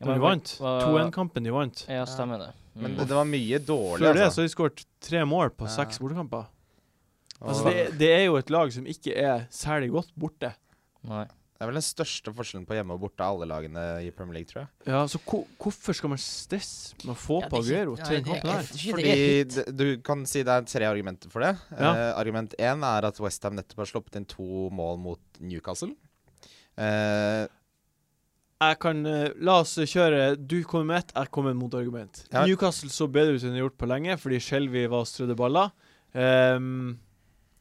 Speaker 1: Da
Speaker 2: men
Speaker 1: de vant.
Speaker 2: hva-
Speaker 1: 2-1-kampen de vant.
Speaker 2: Ja, stemmer det. Mm.
Speaker 4: Men det, det var mye dårlig,
Speaker 1: Før det
Speaker 4: altså.
Speaker 1: så har de skåret tre mål på
Speaker 4: Ja.
Speaker 1: seks bortekamper.
Speaker 4: Og
Speaker 1: Altså, det, det er jo et lag som ikke er særlig godt borte.
Speaker 2: Nei.
Speaker 4: Det er vel den største forskjellen på hjemme og borte av alle lagene i Premier League, tror jeg.
Speaker 1: Ja, så hvor- hvorfor skal man stresse med å få
Speaker 2: Ja, det
Speaker 1: på
Speaker 2: er ikke-
Speaker 1: Aguero
Speaker 2: nei,
Speaker 1: til den
Speaker 2: det er
Speaker 1: kampen her?
Speaker 2: ikke- det er
Speaker 4: Fordi
Speaker 2: hit.
Speaker 4: d- Du kan si det er tre argumenter for det.
Speaker 1: Ja.
Speaker 4: Eh, argument én er at Westham nettopp har sluppet inn to mål mot Newcastle. Eh,
Speaker 1: Jeg kan, eh, La oss kjøre Du kommer med ett, jeg kommer med et motargument.
Speaker 4: Ja.
Speaker 1: Newcastle så bedre ut enn de har gjort på lenge, fordi Shelby var og strødde baller. Um,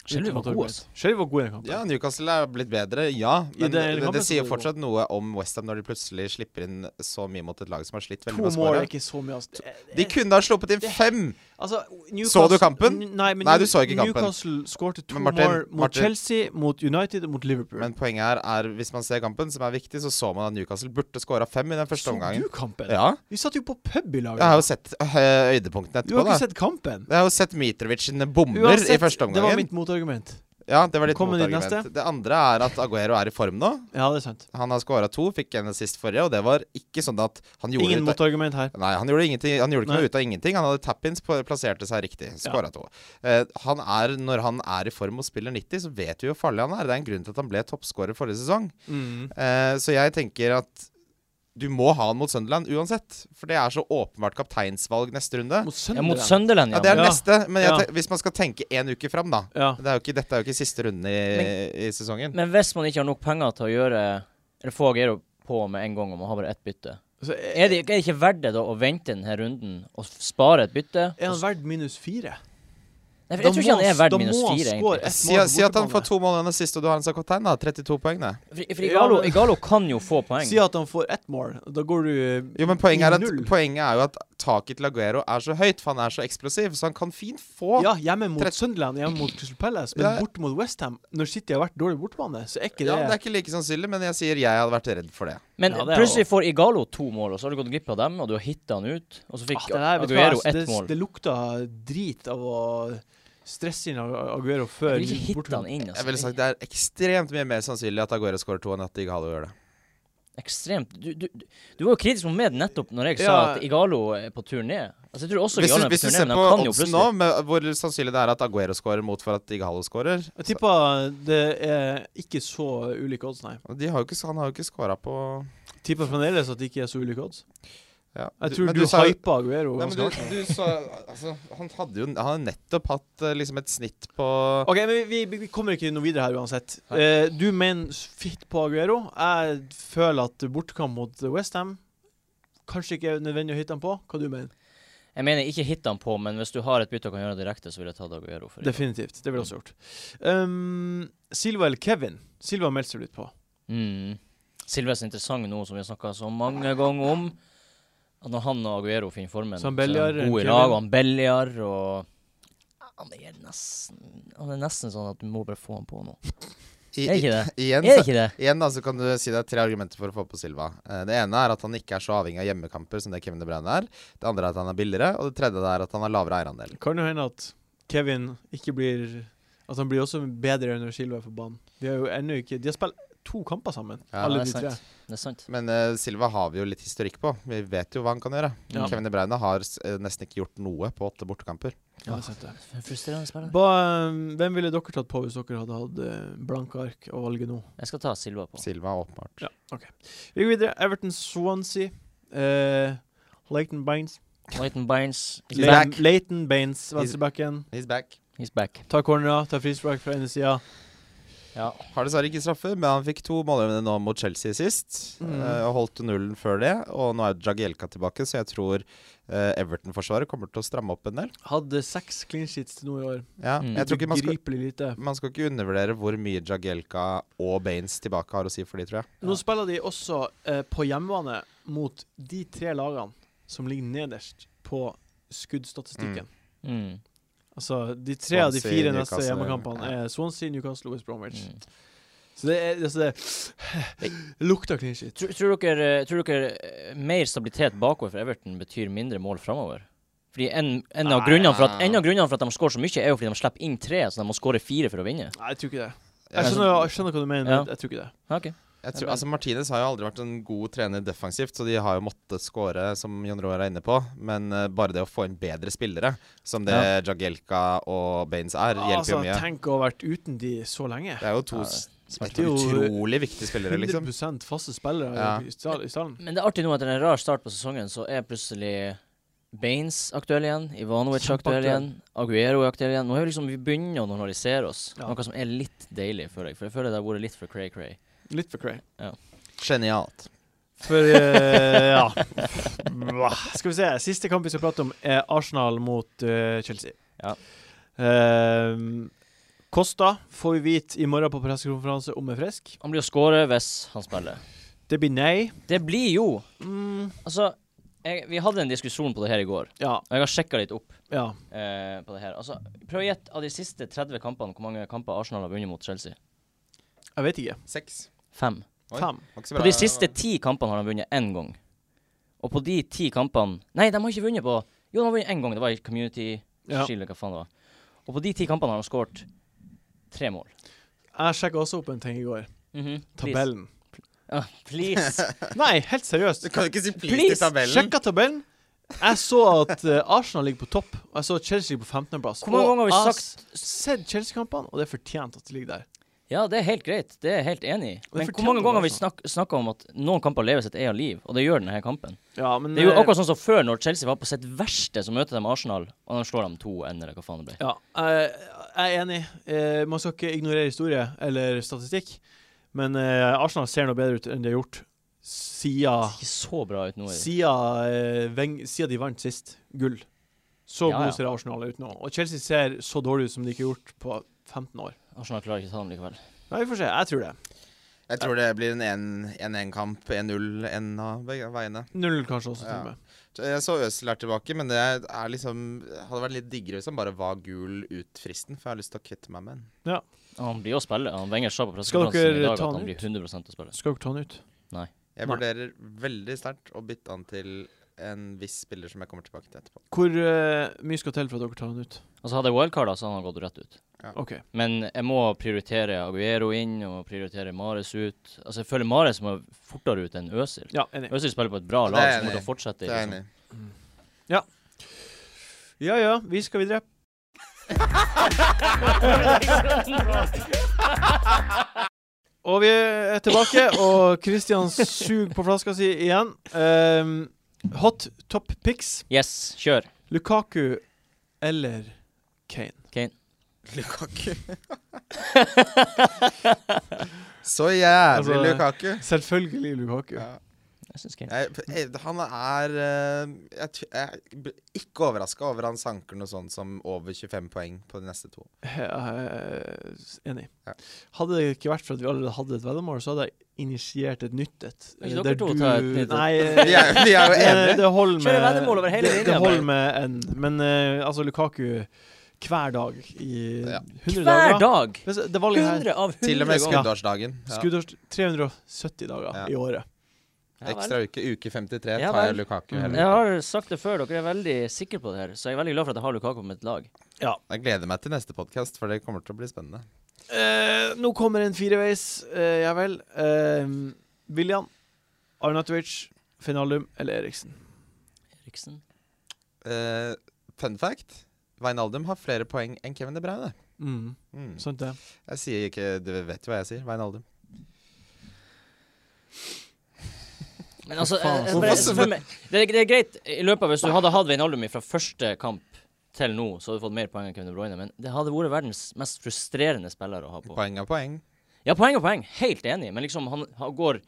Speaker 2: Shelby var god, altså.
Speaker 1: Shelby var god i den kampen.
Speaker 4: ja, Newcastle er blitt bedre, ja.
Speaker 1: I
Speaker 4: Men
Speaker 1: det hele
Speaker 4: det, det,
Speaker 1: kampen så
Speaker 4: sier
Speaker 1: er altså. det
Speaker 4: fortsatt noe om Westham når de plutselig slipper inn så mye mot et lag som har slitt veldig
Speaker 1: To
Speaker 4: med å
Speaker 1: mål er
Speaker 4: skåre.
Speaker 1: ikke så mye. Altså. Det-
Speaker 4: De kunne ha sluppet inn
Speaker 1: Det-
Speaker 4: fem!
Speaker 1: Altså, Newcastle,
Speaker 4: Så du kampen?
Speaker 1: N- Nei, men
Speaker 4: Nei,
Speaker 1: New-
Speaker 4: du så ikke kampen.
Speaker 1: Newcastle skårte to
Speaker 4: Men Martin-
Speaker 1: mål mot
Speaker 4: Martin-
Speaker 1: Chelsea, mot United og mot Liverpool.
Speaker 4: Men poenget her er, hvis man ser kampen, som er viktig, så så man at Newcastle burde skåra fem i den første
Speaker 1: så
Speaker 4: omgangen.
Speaker 1: du kampen?
Speaker 4: Ja,
Speaker 1: Vi satt jo på pub i lag.
Speaker 4: Jeg har jo sett øh, høydepunktene
Speaker 1: Du har ikke
Speaker 4: etterpå, da.
Speaker 1: sett kampen?
Speaker 4: Jeg har jo sett Mitrovic sine bomber i første
Speaker 1: Det var
Speaker 4: omgangen.
Speaker 1: mitt motargument.
Speaker 4: Ja, det var ditt
Speaker 1: Kommer ditt
Speaker 4: motargument.
Speaker 1: neste?
Speaker 4: Det andre er at Aguero er i form nå.
Speaker 1: Ja, det er sant.
Speaker 4: Han har skåra to, fikk en sist forrige, og det var ikke sånn at han gjorde
Speaker 1: Ingen
Speaker 4: ut av-
Speaker 1: motargument her.
Speaker 4: Nei, han gjorde, ingenting- han gjorde ikke
Speaker 1: Nei.
Speaker 4: noe ut av ingenting. Han hadde tap-ins, på- plasserte seg riktig. Skåra to. Eh, han er, når han er i form og spiller 90, så vet vi hvor farlig han er. Det er en grunn til at han ble toppskårer forrige sesong. Eh, så jeg tenker at du må ha han mot Sunderland uansett. For det er så åpenbart kapteinsvalg neste runde.
Speaker 1: Mot
Speaker 2: Ja,
Speaker 1: Sunderland.
Speaker 2: mot Sunderland,
Speaker 4: Ja,
Speaker 2: ja.
Speaker 4: det er
Speaker 1: Ja.
Speaker 4: neste, men jeg
Speaker 1: Ja.
Speaker 4: te hvis man skal tenke én uke fram, da.
Speaker 1: Ja.
Speaker 4: Det er jo ikke, dette er jo ikke siste runden i, i sesongen.
Speaker 2: Men hvis man ikke har nok penger til å gjøre Eller få Aguero på med en gang, og man har bare ett bytte
Speaker 1: Så er,
Speaker 2: Er det, er det ikke verdt det da å vente denne runden og f- spare et bytte?
Speaker 1: er han verdt minus fire?
Speaker 2: Nei, for jeg tror ikke han er verdt minus fire, egentlig.
Speaker 1: egentlig.
Speaker 4: Si, si at han får to mål igjen sist, og du har en som kaptein, da. 32 poeng, det.
Speaker 2: For, for Igalo,
Speaker 1: Ja, men-
Speaker 2: Igalo kan jo få poeng.
Speaker 1: Si at han får ett mål. Da går du
Speaker 4: Jo, men poenget er, at,
Speaker 1: Null.
Speaker 4: poenget er jo at taket til Aguero er så høyt, for han er så eksplosiv, så han kan fint få
Speaker 1: Ja, hjemme mot
Speaker 4: Tre-
Speaker 1: Sunderland, hjemme mot Crystal Palace, men
Speaker 4: Ja.
Speaker 1: borte mot Westham Når City har vært dårlig bortebane, så er ikke det Ah,
Speaker 4: Ja, men Det er ikke like sannsynlig, men jeg sier jeg hadde vært redd for det.
Speaker 2: Men
Speaker 1: Ja, det er
Speaker 2: plutselig får Igalo to mål, og så har du gått glipp av dem, og du har hitta han ut, og så fikk
Speaker 1: Ah, det, der, vet du hva,
Speaker 2: Aguero
Speaker 1: altså, det,
Speaker 2: ett mål.
Speaker 1: det lukta drit av å stresse inn Ag- Aguero før
Speaker 2: Jeg vil ikke
Speaker 1: borte-
Speaker 2: hitte han inn,
Speaker 4: Jeg ville
Speaker 2: altså.
Speaker 4: sagt Det er ekstremt mye mer sannsynlig at Aguero scorer to enn at Igalo gjør det.
Speaker 2: Ekstremt. Du, du, du var jo kritisk mot meg nettopp når jeg sa
Speaker 1: Ja.
Speaker 2: at Igalo er på tur ned. Altså, jeg tror også
Speaker 4: Hvis du,
Speaker 2: Igalo er på
Speaker 4: hvis du
Speaker 2: tur
Speaker 4: ser
Speaker 2: ned, men
Speaker 4: på
Speaker 2: han kan jo
Speaker 4: oddsen
Speaker 2: plutselig
Speaker 4: nå, med hvor sannsynlig det er at Aguero scorer mot for at Igalo scorer
Speaker 1: Jeg tipper det er ikke så ulike odds, nei.
Speaker 4: Og de har jo ikke, Han har jo ikke scora på
Speaker 1: Tipper fremdeles at det ikke er så ulike odds.
Speaker 4: ja.
Speaker 1: Jeg tror
Speaker 4: men
Speaker 1: du,
Speaker 4: sa jo-
Speaker 1: hypa Aguero
Speaker 4: Nei,
Speaker 1: ganske
Speaker 4: men du,
Speaker 1: hardt.
Speaker 4: du sa Altså, han hadde jo Han har nettopp hatt eh, liksom et snitt på
Speaker 1: OK, men vi, vi, vi kommer ikke noe videre her uansett. Eh, du mener fitt på Aguero. Jeg føler at bortekamp mot Westham kanskje ikke er nødvendig å hitte han på. Hva du mener
Speaker 2: Jeg mener, ikke hitt han på, men hvis du har et bytte og kan gjøre det direkte, så vil jeg ta Aguero. For Igalo.
Speaker 1: Definitivt. Det ville jeg også gjort. Um, Silva eller Kevin? Silva meldte seg litt på.
Speaker 2: Mm. Silves er interessant nå, som vi har snakka så mange ganger om. At når han og Aguero finner formen,
Speaker 1: Så han Belliar,
Speaker 2: så er han god i
Speaker 1: Kevin.
Speaker 2: lag, og han Belliar og han er, nesten, han er nesten sånn at du må bare få han på nå.
Speaker 4: I-
Speaker 2: Er ikke det?
Speaker 4: i- Igjen,
Speaker 2: Er det
Speaker 4: så,
Speaker 2: ikke det?
Speaker 4: igjen da, så kan du si det er tre argumenter for å få på Silva. Eh, Det ene er at han ikke er så avhengig av hjemmekamper som det Kevin De Bruyne er. Det andre er at han er billigere, og det tredje er at han har lavere eierandel.
Speaker 1: Kan jo hende at Kevin ikke blir At han blir også bedre når Silva er på banen. De har jo ennå ikke De har spilt to kamper sammen,
Speaker 4: Ja,
Speaker 1: alle
Speaker 2: det
Speaker 1: de
Speaker 2: er
Speaker 1: tre.
Speaker 2: sant. Det er sant.
Speaker 4: Men eh, Silva har vi jo litt historikk på. Vi vet jo hva han kan gjøre.
Speaker 1: Ja.
Speaker 4: Kevin De Bruyne har s- eh, nesten ikke gjort noe på åtte bortekamper.
Speaker 1: Ja, det er sant det.
Speaker 2: For en Frustrerende spiller.
Speaker 1: Ba, um, hvem ville dere tatt på hvis dere hadde hatt eh, blanke ark å valge nå?
Speaker 2: Jeg skal ta Silva på.
Speaker 4: Silva åpenbart.
Speaker 1: Ja, OK. Vi går videre. Everton Swansea. Eh, Leighton Baines.
Speaker 2: Lighton Bynes, he's
Speaker 4: He's
Speaker 2: back.
Speaker 4: back.
Speaker 1: Leighton Leighton Baines, venstrebacken.
Speaker 4: He's back.
Speaker 2: He's back.
Speaker 1: Ta cornera, ta frispark fra ene sida.
Speaker 2: Ja.
Speaker 4: Har dessverre ikke straffe, men han fikk to målgivende nå mot Chelsea sist.
Speaker 1: Mm.
Speaker 4: eh, Og holdt nullen før det. Og nå er Jagielka tilbake, så jeg tror eh, Everton-forsvaret kommer til å stramme opp en del.
Speaker 1: Hadde seks clean sheets til nå i år.
Speaker 4: Ja,
Speaker 2: Mm.
Speaker 4: jeg tror ikke man skal
Speaker 1: Ubegripelig lite.
Speaker 4: man skal ikke undervurdere hvor mye Jagielka og Baines tilbake har å si for de, tror jeg.
Speaker 1: Nå spiller de også eh, på hjemmebane mot de tre lagene som ligger nederst på skuddstatistikken.
Speaker 2: Mm.
Speaker 1: Altså, de tre av de
Speaker 4: Swansea,
Speaker 1: fire neste
Speaker 4: Newcastle,
Speaker 1: hjemmekampene
Speaker 4: ja.
Speaker 1: er Swansea, Newcastle og West Bromwich.
Speaker 2: Mm.
Speaker 1: Så det er altså det lukter clean shit.
Speaker 2: Tror, tror, dere, tror dere eh, mer stabilitet bakover for Everton betyr mindre mål framover? Fordi en, en, av
Speaker 4: Nei.
Speaker 2: grunnene for at, en av grunnene for at de skårer så mye, er jo fordi de slipper inn tre, så de må skåre fire for å vinne.
Speaker 1: Nei, jeg tror ikke det. Jeg
Speaker 4: Jeg,
Speaker 1: skjønner, jeg skjønner hva du mener,
Speaker 2: Ja.
Speaker 1: men jeg tror ikke det.
Speaker 2: Ja, ok.
Speaker 4: jeg tror, altså Martinez har jo aldri vært en god trener defensivt, så de har jo måttet score, som Jon Roar er inne på. Men eh, bare det å få inn bedre spillere, som det Jagielka og Baines er, hjelper jo
Speaker 1: Altså,
Speaker 4: mye.
Speaker 1: tenk å ha vært uten de så lenge.
Speaker 4: Det er jo to
Speaker 2: Ja,
Speaker 4: s-
Speaker 1: smart.
Speaker 4: et utrolig viktige spillere, liksom.
Speaker 1: 100 faste spillere
Speaker 4: Ja.
Speaker 1: i stal- i stallen.
Speaker 2: Men det er artig nå, etter en rar start på sesongen, så er plutselig Baines aktuell igjen. Ivanovic aktuell igjen. Aguero er aktuell igjen. Nå er vi liksom, vi begynner å normalisere oss,
Speaker 1: Ja.
Speaker 2: noe som er litt deilig, føler jeg. For jeg føler det har vært litt for cray-cray.
Speaker 1: Litt for cray.
Speaker 4: Genialt.
Speaker 1: For eh, ja Mwah. Skal vi se. Siste kamp vi skal prate om, er Arsenal mot eh, Chelsea.
Speaker 2: Ja.
Speaker 1: Ehm, Kosta får vi vite i morgen på pressekonferanse om er frisk.
Speaker 2: Han blir å skåre hvis han spiller.
Speaker 1: Det blir nei.
Speaker 2: Det blir jo
Speaker 1: Mm,
Speaker 2: Altså, jeg, vi hadde en diskusjon på det her i går,
Speaker 1: ja.
Speaker 2: og jeg har sjekka litt opp.
Speaker 1: ja.
Speaker 2: eh, på det her. Altså, prøv å gjette av de siste 30 kampene hvor mange kamper Arsenal har vunnet mot Chelsea.
Speaker 1: Jeg vet ikke.
Speaker 4: Seks.
Speaker 2: Fem.
Speaker 4: Oi.
Speaker 1: Fem.
Speaker 4: Var ikke så
Speaker 2: På
Speaker 4: bra.
Speaker 2: de siste ti kampene har de vunnet én gang. Og på de ti kampene Nei, de har ikke vunnet på Jo, de har vunnet én gang. Det var i Community
Speaker 1: Ja.
Speaker 2: Shield, eller hva faen det var. Og på de ti kampene har de skåret tre mål.
Speaker 1: Jeg sjekka også opp en ting i går.
Speaker 2: Mhm, please.
Speaker 1: Tabellen.
Speaker 2: Ja, please.
Speaker 1: Nei, helt seriøst.
Speaker 4: Du kan jo ikke si please
Speaker 2: Please,
Speaker 4: i tabellen.
Speaker 1: Sjekka tabellen. Jeg så at eh, Arsenal ligger på topp, og jeg så Chelsea ligger på 15.-plass.
Speaker 2: Hvor mange ganger har vi sagt-
Speaker 1: Jeg har sett Chelsea-kampene, og det er fortjent at de ligger der.
Speaker 2: Ja, det er helt greit. Det er jeg helt enig i. Men hvor
Speaker 1: fortjener
Speaker 2: mange
Speaker 1: det,
Speaker 2: ganger har vi
Speaker 1: altså.
Speaker 2: snak snakka om at noen kamper lever sitt eget liv, og det gjør denne her kampen?
Speaker 1: Ja, men
Speaker 2: Det er jo
Speaker 1: eh,
Speaker 2: akkurat sånn som før, når Chelsea var på sitt verste, så møter de Arsenal, og de slår dem 2-1, eller hva faen det ble.
Speaker 1: Ja, jeg jeg er enig. Eh, Man skal ikke ignorere historie eller statistikk. Men eh, Arsenal ser noe bedre ut enn de har gjort siden
Speaker 2: Det ser ikke så bra ut nå. i-
Speaker 1: Siden, eh, Weng- siden de vant sist gull. Så
Speaker 2: Ja, ja.
Speaker 1: god ser Arsenal ut nå. Og Chelsea ser så dårlig ut som de ikke har gjort på 15 år.
Speaker 2: Arsenal klarer ikke å ta dem likevel.
Speaker 1: Nei, vi får se. Jeg tror det.
Speaker 4: Jeg tror det blir en 1-1-kamp, 1-0, en av begge veiene.
Speaker 1: Null kanskje også, til
Speaker 4: Ja.
Speaker 1: og med.
Speaker 4: Jeg så Øzil er tilbake, men det er liksom hadde vært litt diggere hvis han bare var gul ut fristen, for jeg har lyst til å kvitte meg med den.
Speaker 2: Han blir å spille. Han Wenger sa på
Speaker 1: Skal
Speaker 2: pressekonferansen
Speaker 1: dere
Speaker 2: i dag
Speaker 1: ta
Speaker 2: at
Speaker 1: han
Speaker 2: han blir 100 å spille.
Speaker 1: Skal dere ta han ut?
Speaker 4: Jeg
Speaker 1: Nei.
Speaker 4: vurderer veldig sterkt å bytte han til en viss spiller som jeg kommer tilbake til etterpå.
Speaker 1: Hvor eh, mye skal til for at dere tar han ut?
Speaker 2: Altså Hadde jeg wildcarda, så hadde han gått rett ut.
Speaker 1: OK.
Speaker 2: Men jeg må prioritere Aguero inn og prioritere Mares ut. Altså Jeg føler Mares må fortere ut enn Øzil.
Speaker 1: Ja, enig.
Speaker 2: Øzil spiller på et bra
Speaker 4: Det er
Speaker 2: lag,
Speaker 4: jeg
Speaker 2: så må du
Speaker 4: enig i.
Speaker 2: fortsette.
Speaker 4: Det er jeg
Speaker 2: Liksom.
Speaker 4: enig i.
Speaker 1: Ja ja, vi skal videre. Og vi er tilbake, og Christian suger på flaska si igjen. Ehm, hot top picks.
Speaker 2: Yes, kjør.
Speaker 1: Lukaku eller Kane?
Speaker 4: Lukaku. Så jævlig
Speaker 1: Altså,
Speaker 4: Lukaku.
Speaker 1: Selvfølgelig Lukaku.
Speaker 4: Ja.
Speaker 2: Jeg synes Kane.
Speaker 4: Jeg, jeg- han er eh, jeg, t- jeg ble ikke overraska over han sanker noe sånt som over 25 poeng på de neste to.
Speaker 1: Jeg er eh, enig.
Speaker 4: Ja.
Speaker 1: Hadde det ikke vært for at vi allerede hadde et veddemål, så hadde jeg initiert et nytt et.
Speaker 2: Kan ikke
Speaker 1: eh,
Speaker 2: dere to ta et nytt et?
Speaker 1: Nei,
Speaker 4: Vi er, vi er jo
Speaker 1: det,
Speaker 4: enige.
Speaker 1: det holder med
Speaker 2: Kjøre veddemål over hele
Speaker 1: det-
Speaker 2: linja,
Speaker 1: Det holder
Speaker 2: bare.
Speaker 1: med en. Men eh, altså, Lukaku hver dag i
Speaker 4: Ja.
Speaker 1: 100
Speaker 2: Hver
Speaker 1: dager.
Speaker 2: dag!
Speaker 1: Men så- Det valget her
Speaker 2: 100 av 100
Speaker 4: Til og med
Speaker 2: ganger.
Speaker 4: skuddårsdagen. Ja.
Speaker 1: Skuddårs 370 dager
Speaker 4: Ja.
Speaker 1: i året.
Speaker 2: Ja, vel.
Speaker 4: Ekstra uke, uke 53,
Speaker 2: Ja
Speaker 4: tar jeg
Speaker 2: vel.
Speaker 4: Lukaku.
Speaker 1: Mm.
Speaker 4: Heller.
Speaker 2: Jeg har sagt det før, dere er veldig sikre på det her, så jeg er veldig glad for at jeg har Lukaku på mitt lag.
Speaker 4: Jeg gleder meg til neste podkast, for det kommer til å bli spennende.
Speaker 1: Eh, nå kommer en fireveis, eh, ja vel. Eh, William, Arnatovic, Finalum eller Eriksen?
Speaker 2: Eriksen.
Speaker 4: Eh, fun fact Wijnaldum har flere poeng enn Kevin De Bruyne.
Speaker 1: Mm,
Speaker 4: Mm.
Speaker 1: sant det.
Speaker 4: Jeg sier ikke Du vet jo hva jeg sier. Wijnaldum.
Speaker 2: Men altså,
Speaker 1: faen,
Speaker 2: eh,
Speaker 1: hvorfor-
Speaker 2: bare, for meg, det, er- det er greit i løpet av Hvis du hadde hatt Veinaldum fra første kamp til nå, så hadde du fått mer poeng enn Kevin De Bruyne, men det hadde vært verdens mest frustrerende spiller å ha på.
Speaker 4: Poeng er poeng.
Speaker 2: Ja, poeng og poeng, helt enig, men liksom, han, han går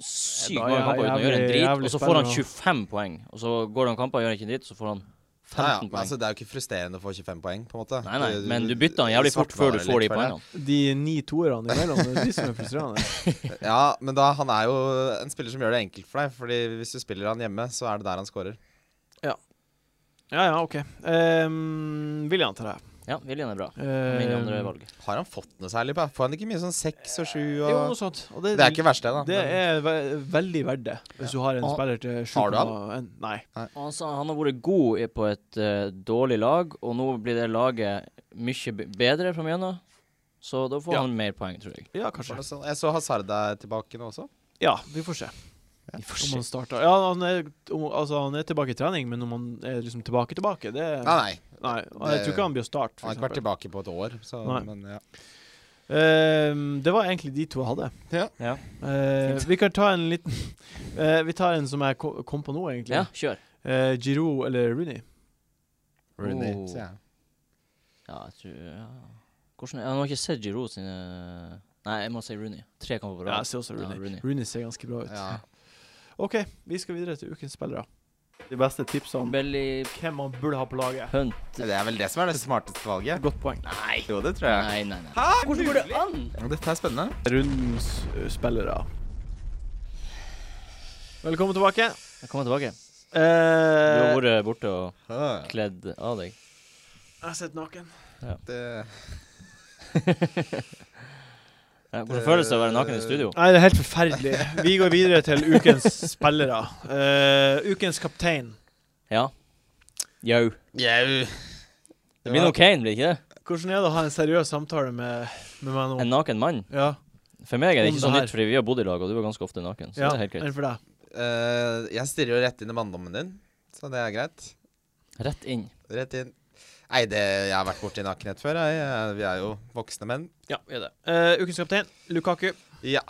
Speaker 2: sykt
Speaker 1: Ja, da
Speaker 2: mange
Speaker 1: er
Speaker 2: kamper uten å gjøre en
Speaker 1: jævlig-
Speaker 2: drit,
Speaker 1: jævlig
Speaker 2: og så får han
Speaker 1: spennende.
Speaker 2: 25 poeng. Og så går han kamper og gjør ikke en drit, så får han 15
Speaker 4: Ja, ja, men
Speaker 2: poeng.
Speaker 4: altså, det er jo ikke frustrerende å få 25 poeng, på en måte.
Speaker 2: nei, nei, men du bytter han jævlig fort før du
Speaker 4: svartmaler
Speaker 2: får de
Speaker 4: eh, litt for det.
Speaker 2: poengene.
Speaker 1: De ni toerne imellom, det er de som er frustrerende.
Speaker 4: Ja, men da, han er jo en spiller som gjør det enkelt for deg. Fordi hvis du spiller han hjemme, så er det der han scorer.
Speaker 1: Ja, ja, OK. Um, William til deg.
Speaker 2: Ja, Viljen er bra.
Speaker 1: Eh,
Speaker 2: Min andre valg.
Speaker 4: Har han fått noe særlig? på? Får han ikke mye sånn seks og sju
Speaker 1: Ehm, Jo, noe
Speaker 4: og
Speaker 1: sånt. Og det,
Speaker 4: Det er ikke verst, det, da.
Speaker 1: det er ve veldig verdt det, hvis du har en
Speaker 2: Ah,
Speaker 1: spiller til sju
Speaker 4: har du han?
Speaker 1: komma en- Nei.
Speaker 2: Og Han sa han har vært god i- på et eh, dårlig lag, og nå blir det laget mye b- bedre fra gjennom. Så da får
Speaker 1: Ja.
Speaker 2: han mer poeng, tror jeg.
Speaker 1: Ja,
Speaker 4: Var
Speaker 1: kanskje.
Speaker 4: det sånn? Jeg så Hazard er tilbake nå også.
Speaker 1: Ja, vi får se
Speaker 2: Vi får
Speaker 1: om
Speaker 2: se.
Speaker 1: han starter. Ja, han er, om, altså, han er tilbake i trening, men om han er liksom tilbake, tilbake det
Speaker 4: Nei, nei.
Speaker 1: Nei, og jeg tror ikke han blir å starte,
Speaker 4: Han har ikke vært
Speaker 1: f.eks.
Speaker 4: tilbake på et år, så
Speaker 1: Nei.
Speaker 4: men ja.
Speaker 1: Um, det var egentlig de to jeg hadde.
Speaker 4: Ja.
Speaker 2: Ja.
Speaker 1: Eh, vi kan ta en liten eh, Vi tar en som jeg ko- kom på nå, egentlig.
Speaker 2: Ja, kjør.
Speaker 1: Eh, Giroud eller Rooney?
Speaker 4: Rooney,
Speaker 2: Oh.
Speaker 4: sier jeg.
Speaker 2: Ja, jeg tror ja. Hvordan, er- Han har ikke sett Giroud sine Nei, jeg må si Rooney. Tre kamper på
Speaker 1: Ja, jeg
Speaker 2: rad.
Speaker 1: ser også
Speaker 2: Ja,
Speaker 1: Rooney.
Speaker 2: Rooney.
Speaker 1: Rooney ser ganske bra ut.
Speaker 4: Ja.
Speaker 1: OK, vi skal videre til ukens spillere. De beste tipsene
Speaker 2: Belly
Speaker 1: sånn. hvem man burde ha på laget.
Speaker 2: Hunt.
Speaker 4: Det er vel det som er det smarteste valget.
Speaker 1: Godt poeng.
Speaker 4: Nei. Jo, det tror jeg.
Speaker 2: Nei, nei, nei. Hvordan går det an?
Speaker 4: Dette er spennende.
Speaker 1: Rundens ø, spillere. Velkommen tilbake.
Speaker 2: Jeg kommer tilbake. Du
Speaker 1: Eh,
Speaker 2: har vært borte og
Speaker 4: Ah,
Speaker 2: kledd av deg.
Speaker 1: jeg har sett naken.
Speaker 4: det-
Speaker 2: Ja, hvordan føles det å være naken i studio?
Speaker 1: Nei, det er helt forferdelig. Vi går videre til ukens spillere. Eh, ukens kaptein.
Speaker 2: Ja. Jau.
Speaker 4: Jau.
Speaker 2: Det blir noe Kane, blir det ikke det?
Speaker 1: Hvordan er det å ha en seriøs samtale med, med meg nå?
Speaker 2: En naken mann.
Speaker 1: Ja,
Speaker 2: For meg er det
Speaker 1: Om
Speaker 2: ikke
Speaker 1: det
Speaker 2: så
Speaker 1: her.
Speaker 2: nytt, fordi vi har bodd i lag, og du var ganske ofte naken. Så
Speaker 1: ja
Speaker 2: det er helt greit.
Speaker 1: enn for deg.
Speaker 4: Eh, jeg stirrer jo rett inn i manndommen din, så det er greit.
Speaker 2: Rett inn.
Speaker 4: Rett inn. Nei, det, jeg har vært borti nakenhet før. Jeg, jeg, vi er jo voksne menn.
Speaker 1: Ja, vi er det. Eh, ukens kaptein, Lukaku.
Speaker 4: Ja.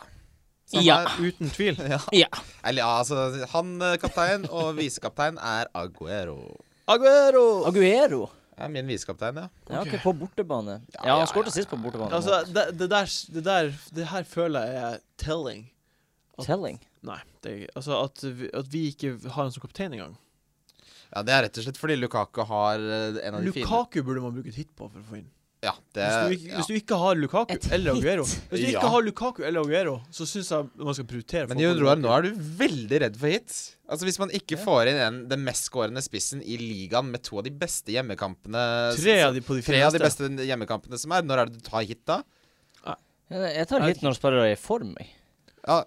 Speaker 2: Ja.
Speaker 4: er-
Speaker 1: Uten tvil.
Speaker 4: ja.
Speaker 2: Ja.
Speaker 4: Eller ja, altså Han eh, kaptein og visekaptein er Aguero.
Speaker 1: Aguero!
Speaker 2: Aguero.
Speaker 4: Er min visekaptein, ja.
Speaker 2: Ja,
Speaker 1: Ok.
Speaker 2: ok, på bortebane.
Speaker 4: Ja,
Speaker 2: Ja,
Speaker 4: ja,
Speaker 2: han skårte
Speaker 4: ja,
Speaker 2: sist på bortebane.
Speaker 1: Altså, det, det der Det der Det her føler jeg er telling.
Speaker 2: Telling.
Speaker 1: Nei. Det, altså at vi, at vi ikke har han som kaptein engang.
Speaker 4: Ja, Det er rett og slett fordi Lukaku har eh, en av de fine
Speaker 1: Lukaku burde man bruke et hit på for å få inn.
Speaker 4: Ja, det
Speaker 1: Hvis du, ikke,
Speaker 4: Eh, ja.
Speaker 1: hvis du ikke har Lukaku
Speaker 2: Et
Speaker 1: eller
Speaker 2: hit?
Speaker 1: Aguero Hvis du ikke
Speaker 4: Ja.
Speaker 1: har Lukaku eller Aguero, så syns jeg man skal prioritere
Speaker 4: Men
Speaker 1: folk
Speaker 4: Jon
Speaker 1: over
Speaker 4: Roar, nå
Speaker 1: Lukaku.
Speaker 4: er du veldig redd for hit. Altså Hvis man ikke får inn en, den mest skårende spissen i ligaen med to av de beste hjemmekampene
Speaker 1: Tre av de på de
Speaker 4: eh, Tre
Speaker 1: fire
Speaker 4: av de
Speaker 1: neste.
Speaker 4: beste hjemmekampene som er. Når er det du tar hit, da?
Speaker 2: Jeg tar hit når spillere er i form. jeg.
Speaker 4: Ja,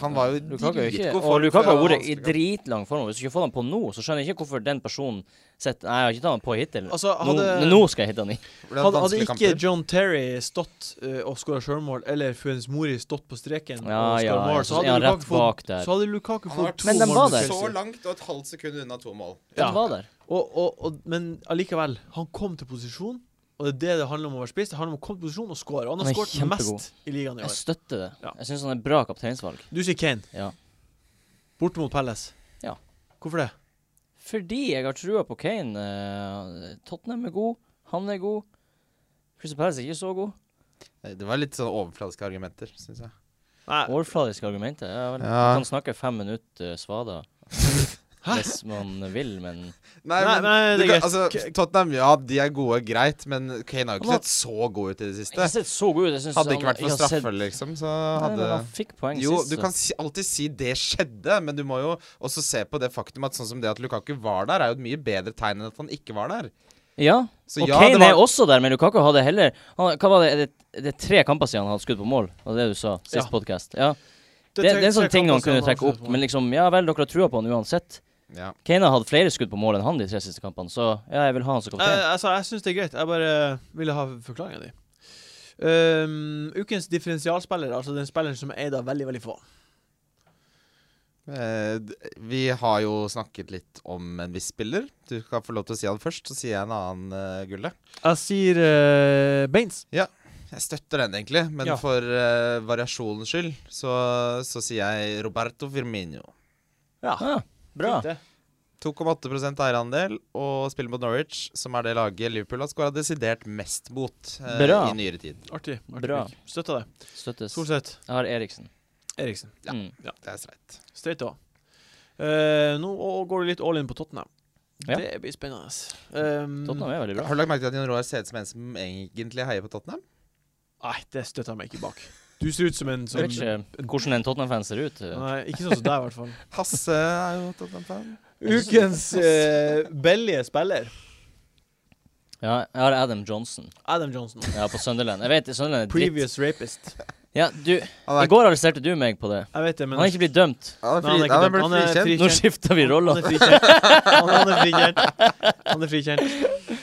Speaker 4: han var jo
Speaker 2: Lukaku er jo ikke,
Speaker 4: dritgod
Speaker 2: og Lukaku har
Speaker 4: før
Speaker 2: vært i
Speaker 4: han-
Speaker 2: dritlang form. Hvis du ikke får han på nå, så skjønner jeg ikke hvorfor den personen sitter Nei, jeg har ikke tatt han på hittil.
Speaker 1: Altså,
Speaker 2: nå,
Speaker 1: hadde-
Speaker 2: nå skal jeg hitte han i.
Speaker 4: Hvordan
Speaker 1: Hadde, hadde
Speaker 4: vanskelige
Speaker 1: ikke
Speaker 4: kamper.
Speaker 1: John Terry stått eh, og skåra sjølmål, eller Fuenes Mori stått på streken
Speaker 2: Ja,
Speaker 1: og skåra
Speaker 2: ja, ja,
Speaker 1: mål,
Speaker 2: så
Speaker 1: så
Speaker 2: er
Speaker 1: hadde
Speaker 2: han
Speaker 1: Lukaku
Speaker 2: rett bak
Speaker 1: fått,
Speaker 2: der.
Speaker 1: så hadde Lukaku
Speaker 4: Han har
Speaker 1: fått
Speaker 4: vært
Speaker 1: to
Speaker 2: Men den
Speaker 1: mål
Speaker 2: var
Speaker 1: mot
Speaker 2: der.
Speaker 4: så
Speaker 1: Chelsea.
Speaker 4: langt og et halvt sekund unna to mål.
Speaker 1: Ja.
Speaker 2: Den var der.
Speaker 1: Og, og, og, men allikevel, han kom til posisjon, og det er det det handler om å være spiss. Det handler om å komme til posisjon og score. Og han
Speaker 2: Han
Speaker 1: har
Speaker 2: er
Speaker 1: skåret
Speaker 2: kjempegod.
Speaker 1: mest i ligaen i
Speaker 2: Jeg
Speaker 1: år.
Speaker 2: støtter det.
Speaker 1: Ja.
Speaker 2: Jeg syns han er bra kapteinsvalg.
Speaker 1: Du sier Kane,
Speaker 2: Ja.
Speaker 1: borte mot Pelles.
Speaker 2: Ja.
Speaker 1: Hvorfor det?
Speaker 2: Fordi jeg har trua på Kane. eh, Tottenham er god, han er god. Crystal Palace er ikke så god.
Speaker 4: Det var litt sånn overfladiske argumenter, syns jeg.
Speaker 1: Nei,
Speaker 2: Overfladiske argumenter. Ja, vel,
Speaker 4: Ja.
Speaker 2: Man kan snakke fem minutter eh, svada. Hvis man vil, men
Speaker 4: Nei,
Speaker 1: Nei,
Speaker 4: men,
Speaker 1: nei,
Speaker 4: du
Speaker 1: det er
Speaker 4: kan,
Speaker 1: greit.
Speaker 4: altså, Tottenham, ja, de er gode, greit, men Kane har
Speaker 2: Han
Speaker 4: jo ikke
Speaker 2: har-
Speaker 4: sett så god ut i det
Speaker 2: Jeg har
Speaker 4: siste.
Speaker 2: sett så god ut. Jeg synes
Speaker 4: Hadde det ikke
Speaker 2: han-
Speaker 4: vært for
Speaker 2: jeg har sett-
Speaker 4: straffer, liksom, så
Speaker 2: Nei, men
Speaker 4: hadde
Speaker 2: han fikk poeng
Speaker 4: Jo,
Speaker 2: sist.
Speaker 4: du
Speaker 2: så-
Speaker 4: kan si, alltid si 'det skjedde', men du må jo også se på det faktum at sånn som det at Lukaku var der, er jo et mye bedre tegn enn at han ikke var der.
Speaker 2: Ja.
Speaker 4: Så
Speaker 2: og
Speaker 4: ja, det
Speaker 2: Kane
Speaker 4: var-
Speaker 2: er også der, men Lukaku hadde heller han, Hva var det? Er det, er det tre kamper siden han hadde skudd på mål? Det var det du sa sist
Speaker 1: Ja.
Speaker 2: podcast. Ja. Det, det, er en sånn ting han kunne trekke opp, men liksom Ja vel, dere har trua på han uansett.
Speaker 4: Ja.
Speaker 2: Kane har hatt flere skudd på mål enn han de tre siste kampene, så ja, jeg vil ha han som
Speaker 1: Nei,
Speaker 2: kaptein.
Speaker 1: altså, jeg syns det er greit. Jeg bare ville ha forklaringa di. Um, ukens differensialspiller, altså den spilleren som er eid av veldig, veldig få.
Speaker 4: Eh, d- Vi har jo snakket litt om en viss spiller. Du skal få lov til å si han først, så sier jeg en annen, uh, Gulle.
Speaker 1: Jeg sier uh, Baines.
Speaker 4: Jeg støtter den egentlig, men
Speaker 1: Ja.
Speaker 4: for eh, variasjonens skyld så, så sier jeg Roberto Firmino.
Speaker 1: Ja,
Speaker 2: Ah, bra.
Speaker 1: fint det.
Speaker 4: 2,8 eierandel og spiller mot Norwich, som er det laget Liverpool har skåra desidert mest mot eh,
Speaker 2: Bra.
Speaker 4: i nyere tid.
Speaker 1: Artig. artig
Speaker 2: Bra.
Speaker 1: pick. Støtter deg.
Speaker 2: Støttes.
Speaker 1: Solseth.
Speaker 2: Jeg har Eriksen.
Speaker 1: Eriksen.
Speaker 4: Ja.
Speaker 2: Mm.
Speaker 4: Det er streit.
Speaker 1: Straight A. Eh, nå å- går du litt all in på Tottenham.
Speaker 2: Ja.
Speaker 1: Det blir spennende. Um,
Speaker 2: Tottenham er veldig bra.
Speaker 4: Har du lagt merke til at Jon Roar ser ut som en som egentlig heier på Tottenham?
Speaker 1: Nei, det støtter jeg meg ikke bak. Du ser ut som en som
Speaker 2: Jeg vet ikke hvordan en Tottenham-fan ser ut.
Speaker 1: Nei, ikke sånn som deg, i hvert fall.
Speaker 4: Hasse er jo Tottenham-fan.
Speaker 1: Ukens eh, billige spiller.
Speaker 2: Ja, jeg har Adam Johnson
Speaker 1: Adam Johnson.
Speaker 2: ja, på Sunderland. Jeg vet Sunderland er dritt.
Speaker 1: Previous rapist.
Speaker 2: Ja, du,
Speaker 4: Han
Speaker 2: I
Speaker 4: er,
Speaker 2: går arresterte du meg på det.
Speaker 1: Jeg vet det, men
Speaker 2: Han er ikke blitt dømt.
Speaker 4: han er,
Speaker 1: Nei, han er
Speaker 4: fri,
Speaker 1: ikke
Speaker 4: han er
Speaker 1: dømt.
Speaker 4: blitt
Speaker 1: Han er
Speaker 4: frikjent.
Speaker 1: fri-
Speaker 2: Nå skifter vi
Speaker 1: Han
Speaker 2: roller.
Speaker 1: er frikjent. Han, han er frikjent. Han er frikjent.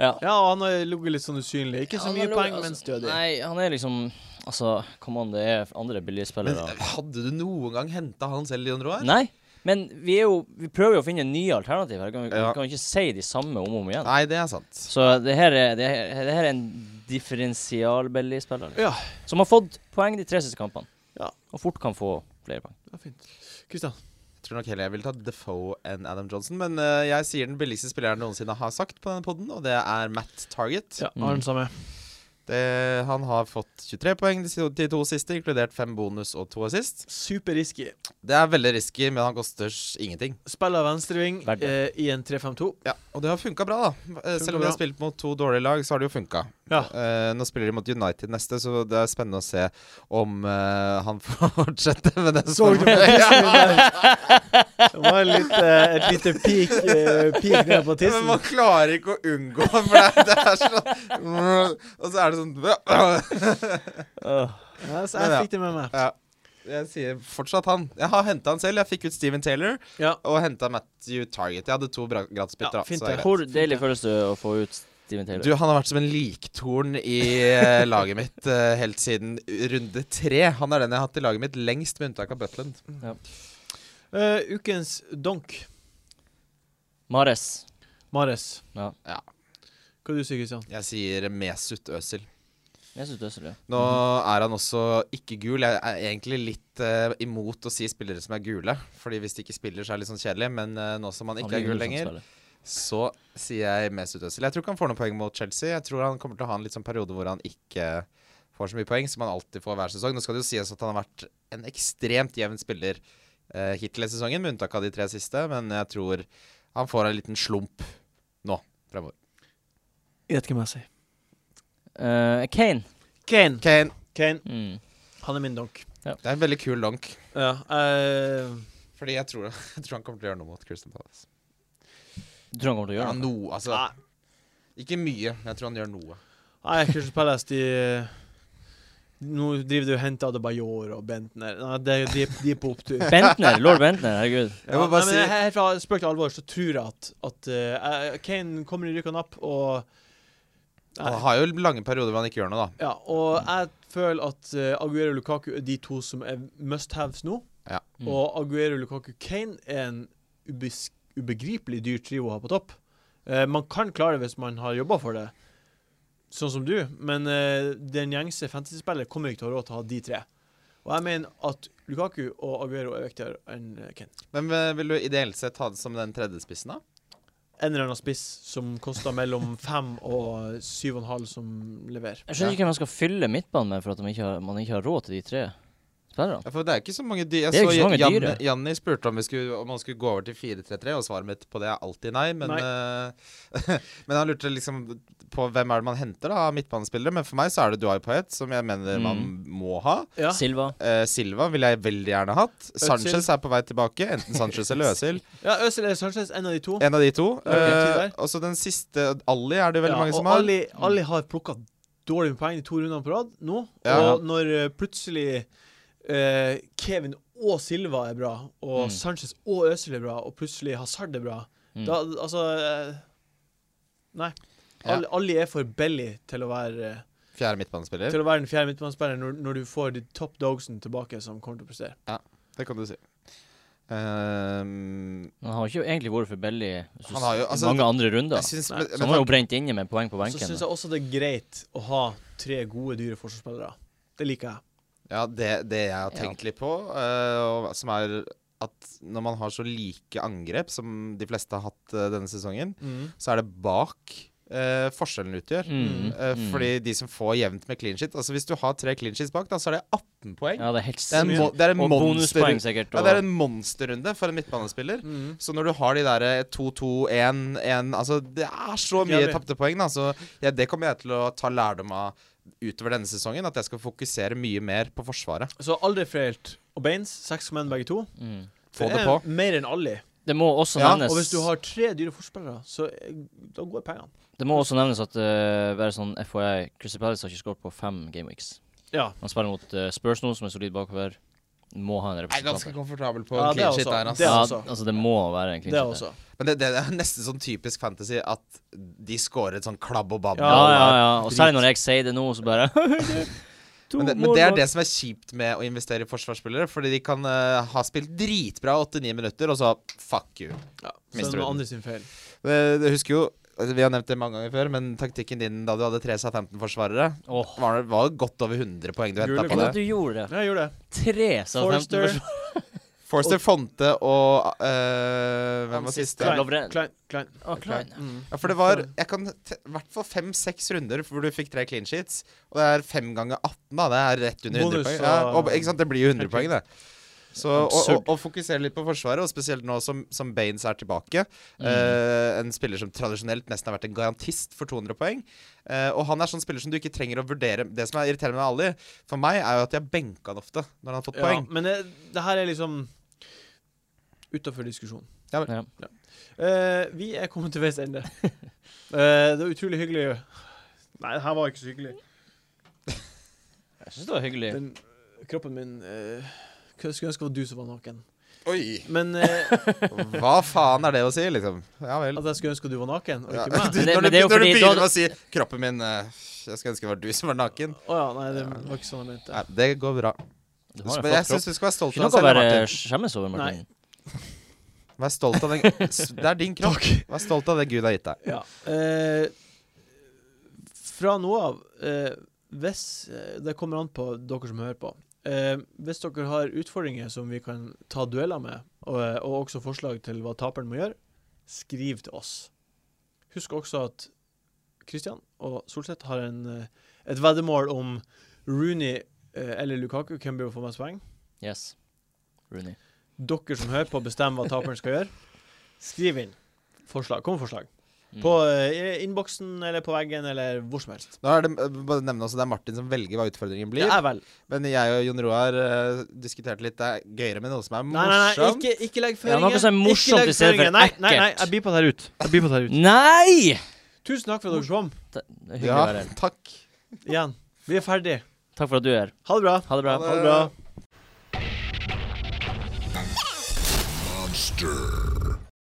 Speaker 2: Ja.
Speaker 1: Ja, og han har ligget litt sånn usynlig. Ikke så
Speaker 2: Han
Speaker 1: mye
Speaker 2: har lo-
Speaker 1: poeng,
Speaker 2: altså,
Speaker 1: men stødig.
Speaker 2: Nei, han er liksom Altså, come on, det er andre
Speaker 4: Men
Speaker 1: eh,
Speaker 2: billigspillere.
Speaker 4: hadde du noen gang henta han selv, Jon Roar?
Speaker 2: Nei, men vi er jo Vi prøver jo å finne nye alternativer. Vi kan, vi
Speaker 4: Ja.
Speaker 2: kan jo ikke si de samme om og om igjen.
Speaker 4: Nei, det er sant.
Speaker 2: Så det her er, det her, det her er en differensialbilligspiller.
Speaker 1: Ja.
Speaker 2: Som har fått poeng de tre siste kampene.
Speaker 1: Ja.
Speaker 2: Og fort kan få flere poeng.
Speaker 1: Det er fint. Kristian.
Speaker 4: Jeg tror nok heller jeg vil ta Defoe enn Adam Johnson. Men eh, jeg sier den billigste spilleren noensinne har sagt på denne podden, og det er Matt Target.
Speaker 1: Ja, har
Speaker 2: Mm.
Speaker 1: den samme.
Speaker 4: Det, han har fått 23 poeng de si- de to siste, inkludert fem bonus og to assist.
Speaker 1: Superrisky.
Speaker 4: Det er veldig risky, men han koster s- ingenting.
Speaker 1: Spiller venstreving
Speaker 2: Verdt
Speaker 1: eh, i en 3-5-2.
Speaker 4: Ja, Og det har funka bra, da. Eh,
Speaker 1: Funka
Speaker 4: Selv om de har
Speaker 1: bra.
Speaker 4: spilt mot to dårlige lag, så har det jo funka.
Speaker 1: Ja.
Speaker 4: Eh, nå spiller de mot United neste, så det er spennende å se om eh, han får fortsette med den
Speaker 1: Så du på tissen
Speaker 4: skolen.
Speaker 1: min der? Det var litt, eh, et lite peak, eh, peak ned på
Speaker 4: Ja, men
Speaker 1: tissen.
Speaker 4: man klarer ikke å unngå det, for det er, det er sånn Og så er det sånn
Speaker 1: Ja, så jeg fikk det med meg.
Speaker 4: ja. Jeg sier fortsatt han. Jeg har henta han selv. Jeg fikk ut Steven Taylor
Speaker 1: Ja.
Speaker 4: og henta Matthew Target. Jeg hadde to bra- gratisbytter.
Speaker 1: Ja,
Speaker 4: da,
Speaker 1: fint
Speaker 4: så det er
Speaker 1: det.
Speaker 2: Hvor
Speaker 4: greit.
Speaker 2: deilig føles det å få ut Steven Taylor?
Speaker 4: Du, Han har vært som en liktorn i eh, laget mitt eh, helt siden runde tre. Han er den jeg har hatt i laget mitt lengst, med unntak av Butland.
Speaker 1: Eh, ukens donk.
Speaker 2: Mares.
Speaker 1: Mares.
Speaker 2: Ja.
Speaker 4: Ja.
Speaker 1: Hva du sier du, Kristian?
Speaker 4: Jeg sier Mesut Özil.
Speaker 2: Jeg syns Øssel, ja.
Speaker 4: Nå er han også ikke gul. Jeg er egentlig litt eh, imot å si spillere som er gule. Fordi hvis de ikke spiller, så er det litt sånn kjedelig. Men eh, nå som han
Speaker 2: Han
Speaker 4: ikke
Speaker 2: blir
Speaker 4: er gul
Speaker 2: Ulfsson
Speaker 4: lenger,
Speaker 2: spiller.
Speaker 4: så sier jeg Mesut Özil. Jeg tror ikke han får noen poeng mot Chelsea. Jeg tror han kommer til å ha en litt sånn periode hvor han ikke får så mye poeng, som han alltid får hver sesong. Nå skal det jo sies at han har vært en ekstremt jevn spiller eh, hittil i sesongen, med unntak av de tre siste. Men jeg tror Han får en liten slump nå fremover.
Speaker 1: Gjett hvem jeg sier.
Speaker 2: Eh, Kane.
Speaker 1: Kane.
Speaker 4: Kane.
Speaker 1: Kane.
Speaker 2: Mm.
Speaker 1: Han er min donk.
Speaker 4: Det er en veldig kul donk.
Speaker 1: Ja. eh,
Speaker 4: Fordi jeg tror, jeg tror han kommer til å gjøre noe mot Crystal Palace.
Speaker 2: Du tror han kommer til å
Speaker 4: Ja,
Speaker 2: gjøre det?
Speaker 4: noe, altså.
Speaker 1: nei,
Speaker 4: Ikke mye, men jeg tror han gjør noe.
Speaker 1: nei, Crystal Palace, de eh, Nå driver de og henter Adebayor og Bentner. Nei, det, de, de er på opptur.
Speaker 2: Bentner. Lord Bentner, herregud.
Speaker 4: Jeg må bare
Speaker 1: nei,
Speaker 4: si-
Speaker 1: men Helt fra spøk til alvor så tror jeg at, at eh, Kane kommer i rykk og napp, og
Speaker 4: Han har jo lange perioder hvor han ikke gjør noe, da.
Speaker 1: Ja, og jeg føler at eh, Aguero og Lukaku er de to som er must haves nå.
Speaker 4: Ja.
Speaker 2: Mm.
Speaker 1: Og Aguero og Lukaku Kane er en ubes ubegripelig dyr trio å ha på topp. Eh, man kan klare det hvis man har jobba for det, sånn som du, men eh, den gjengse fantasyspillet kommer ikke til å ha råd til å ha de tre. Og jeg mener at Lukaku og Aguero er viktigere enn eh, Kane.
Speaker 4: Men eh, vil du ideelt sett ha det som den tredje spissen, da?
Speaker 1: En eller annen spiss som koster mellom fem og syv og en halv, som leverer.
Speaker 2: Jeg skjønner ikke hvem man skal fylle midtbanen med for at de ikke har, man ikke har råd til de tre spillerne.
Speaker 4: Ja, for det er ikke så mange dyr. Jeg
Speaker 2: Det er ikke
Speaker 4: så
Speaker 2: så mange
Speaker 4: Jan,
Speaker 2: dyre.
Speaker 4: Janni spurte om, vi skulle, om han skulle gå over til 4-3-3, og svaret mitt på det er alltid nei. Men, eh, men han lurte liksom på hvem er det man henter da, av midtbanespillere. Men for meg så er det Duai Paet, som jeg mener man
Speaker 2: Mm.
Speaker 4: må ha.
Speaker 1: Ja.
Speaker 2: Silva.
Speaker 4: Eh, Silva ville jeg veldig gjerne hatt. Sanchez er på vei tilbake. Enten Sanchez eller Øzil.
Speaker 1: ja, Øzil eller Sanchez, en av de to.
Speaker 4: En av de to.
Speaker 1: Ja, ok, ti
Speaker 4: Eh,
Speaker 1: der.
Speaker 4: og så den siste, Ali, er det veldig
Speaker 1: Ja,
Speaker 4: mange som
Speaker 1: og
Speaker 4: har. Mm.
Speaker 1: Alle, alle har plukka dårlig med poeng de to rundene på rad nå.
Speaker 4: Ja.
Speaker 1: Og når eh, plutselig eh, Kevin og Silva er bra, og
Speaker 2: Mm.
Speaker 1: Sanchez og Øzil er bra, og plutselig Hazard er bra
Speaker 2: Mm.
Speaker 1: Da altså eh, Nei.
Speaker 4: Ja.
Speaker 1: Alle, alle er for billig til å være eh,
Speaker 4: Fjerde midtbanespiller.
Speaker 1: Til å være den fjerde midtbanespilleren når, når du får de top dogsen tilbake som kommer til å prestere.
Speaker 4: Det kan du si. Ehm,
Speaker 2: Han har ikke egentlig vært for billig
Speaker 4: Han har jo- altså-
Speaker 2: mange andre runder.
Speaker 4: jeg
Speaker 2: Så
Speaker 4: syns
Speaker 1: Nei,
Speaker 4: men- men
Speaker 2: han var jo
Speaker 4: takk-
Speaker 2: brent inne med poeng på
Speaker 1: Så
Speaker 2: benken.
Speaker 1: syns jeg også det er greit å ha tre gode, dyre forsvarsspillere. Det liker jeg.
Speaker 4: Ja, det, det jeg har
Speaker 2: Ja.
Speaker 4: tenkt litt på, eh, og hva- som er at når man har så like angrep som de fleste har hatt eh, denne sesongen,
Speaker 1: Mm.
Speaker 4: så er det bak eh, forskjellen utgjør.
Speaker 2: Mm,
Speaker 4: Eh,
Speaker 2: mm.
Speaker 4: Fordi de som får jevnt med clean shit Altså Hvis du har tre clean shits bak, da, så er det 18 poeng.
Speaker 2: Ja, det er helt
Speaker 4: Det er en, mo
Speaker 2: sykt.
Speaker 4: det er en
Speaker 2: Og
Speaker 4: monster
Speaker 2: bonuspoeng, sikkert.
Speaker 4: ja,
Speaker 2: Og,
Speaker 4: det er en monsterrunde for en midtbanespiller.
Speaker 1: Mm.
Speaker 4: Så når du har de der eh, 2-2-1-1 Altså, det er så mye
Speaker 1: Jævlig.
Speaker 4: tapte poeng, da. Så ja, det kommer jeg til å ta lærdom av utover denne sesongen. At jeg skal fokusere mye mer på forsvaret.
Speaker 1: Så aldri freilt. Og Baines, seks menn begge to.
Speaker 2: mm.
Speaker 4: Få det
Speaker 1: er
Speaker 4: på.
Speaker 1: Mer enn Ali.
Speaker 2: det må også
Speaker 4: Ja,
Speaker 2: nevnes
Speaker 1: Og hvis du har tre dyre forspillere, så eh, da går pengene.
Speaker 2: Det må også nevnes at eh, bare sånn FYI Crystal Palace har ikke skåret på fem gameweeks.
Speaker 1: Ja.
Speaker 2: Han spiller mot eh, Spurs nå, som er solid bakover. Må ha en
Speaker 4: Jeg er
Speaker 2: representant. der.
Speaker 4: ganske komfortabel på
Speaker 1: Ja,
Speaker 4: en
Speaker 1: det
Speaker 4: clean shit
Speaker 1: også.
Speaker 4: der,
Speaker 1: Det
Speaker 4: altså.
Speaker 2: ja,
Speaker 1: også.
Speaker 2: altså, det må være en clean
Speaker 1: Det
Speaker 2: sheet der.
Speaker 1: også.
Speaker 4: Men det, det er nesten sånn typisk fantasy at de scorer et sånn klabb og babb.
Speaker 2: Ja, ja, ja. Og særlig når jeg sier det nå, så bare
Speaker 4: Men det, men det er det som er kjipt med å investere i forsvarsspillere, fordi de kan eh, ha spilt dritbra 8-9 minutter, og så fuck you.
Speaker 1: Ja. Så det
Speaker 4: Mister
Speaker 1: er
Speaker 4: du den?
Speaker 1: noen andre sin feil.
Speaker 4: Eh, Du husker jo altså, vi har nevnt det mange ganger før, men taktikken din da du hadde tre Southampton-forsvarere,
Speaker 2: Åh.
Speaker 4: var, var godt over 100 poeng du henta
Speaker 1: Gule
Speaker 4: på
Speaker 2: Hvordan
Speaker 4: det.
Speaker 2: du gjorde det?
Speaker 1: Ja, jeg gjorde det.
Speaker 2: Tre
Speaker 1: Forster,
Speaker 2: Southampton-forsvarere.
Speaker 4: Forster Fonte og eh, Hvem var siste?
Speaker 2: Klein. Lovren.
Speaker 1: Klein, Klein.
Speaker 2: Å, Klein.
Speaker 1: Mm.
Speaker 4: Ja, for det var Jeg kan t- i hvert fall fem-seks runder hvor du fikk tre clean sheets. Og det er fem ganger 18, da. Det er rett under 100
Speaker 1: Bonus
Speaker 4: poeng. Ja,
Speaker 1: og-
Speaker 4: og, ikke sant? Det blir jo 100
Speaker 1: Helt
Speaker 4: poeng, det. Så å, å,
Speaker 1: Absurd.
Speaker 4: å fokusere litt på Forsvaret, og spesielt nå som, som Baines er tilbake.
Speaker 2: Mm.
Speaker 4: eh, en spiller som tradisjonelt nesten har vært en garantist for 200 poeng. Eh, og han er sånn spiller som du ikke trenger å vurdere. Det som er irriterende med Ali, for meg, er jo at de har benka han ofte når han har fått
Speaker 1: Ja,
Speaker 4: poeng.
Speaker 1: men det, det her er liksom utafor diskusjon.
Speaker 4: Ja,
Speaker 2: vel.
Speaker 1: Eh, vi er kommet til veis ende. Eh, det var utrolig hyggelig. Nei, det her var ikke så hyggelig.
Speaker 2: Jeg syns det var hyggelig.
Speaker 1: Den, kroppen min eh, Skulle ønske det var du som var naken.
Speaker 4: Oi!
Speaker 1: Men eh,
Speaker 4: Hva faen er det å si, liksom? Ja vel.
Speaker 1: at jeg skulle ønske du var naken, og
Speaker 4: Ja.
Speaker 1: ikke meg
Speaker 4: Du,
Speaker 2: Men det-
Speaker 4: når
Speaker 2: men
Speaker 4: du,
Speaker 2: det er jo
Speaker 4: når du
Speaker 2: fordi-
Speaker 4: begynner
Speaker 2: da-
Speaker 4: med å si 'kroppen min eh, Jeg skulle ønske det var du som var naken'.
Speaker 1: Å ja, nei, det var ikke sånn jeg mente.
Speaker 4: Nei, det går bra.
Speaker 2: Du har en
Speaker 4: Men
Speaker 2: flott
Speaker 4: jeg
Speaker 2: kropp.
Speaker 4: syns du skal være stolt
Speaker 2: Ikke
Speaker 4: av
Speaker 2: noe å
Speaker 4: deg selv,
Speaker 2: være
Speaker 4: Martin.
Speaker 2: skjemmes over, Martin.
Speaker 4: Vær stolt av den. s- Det er din kropp. Vær stolt av det Gud har gitt deg.
Speaker 1: Ja. Eh, fra nå av, eh, hvis eh, Det kommer an på dere som hører på. Eh, hvis dere har utfordringer som vi kan ta dueller med, og, eh, og også forslag til hva taperen må gjøre, skriv til oss. Husk også at Kristian og Solseth har en, eh, et veddemål om Rooney eh, eller Lukaku, hvem blir å få mest poeng?
Speaker 2: Yes. Rooney.
Speaker 1: Dere som hører på, bestemmer hva taperen skal gjøre. Skriv inn. Forslag. Kom med forslag.
Speaker 2: Mm.
Speaker 1: På eh, innboksen eller på veggen eller hvor som helst.
Speaker 4: Nå er det, eh, bare nevne også, det er Martin som velger hva utfordringen
Speaker 1: Det
Speaker 4: blir.
Speaker 1: er vel.
Speaker 4: Men jeg og Jon Roar eh, diskuterte litt. Det er gøyere med noe som er
Speaker 1: Nei, nei, nei,
Speaker 4: morsomt.
Speaker 1: ikke, ikke legg
Speaker 2: Ja,
Speaker 1: føringer.
Speaker 2: noe som er morsomt
Speaker 1: Ikke legg
Speaker 2: i stedet for
Speaker 1: føringer. nei, nei, nei,
Speaker 2: ekkelt.
Speaker 1: jeg beeper det her ut. Jeg beeper det her ut.
Speaker 2: Nei!
Speaker 1: Tusen takk for at dere kom.
Speaker 2: Ta- det er Hyggelig å være
Speaker 4: Ja,
Speaker 2: her.
Speaker 4: takk.
Speaker 1: Igjen. Vi er ferdig.
Speaker 2: Takk for at du er her.
Speaker 1: Ha det bra.
Speaker 2: Ha det bra.
Speaker 1: Ha det bra.
Speaker 3: Monster.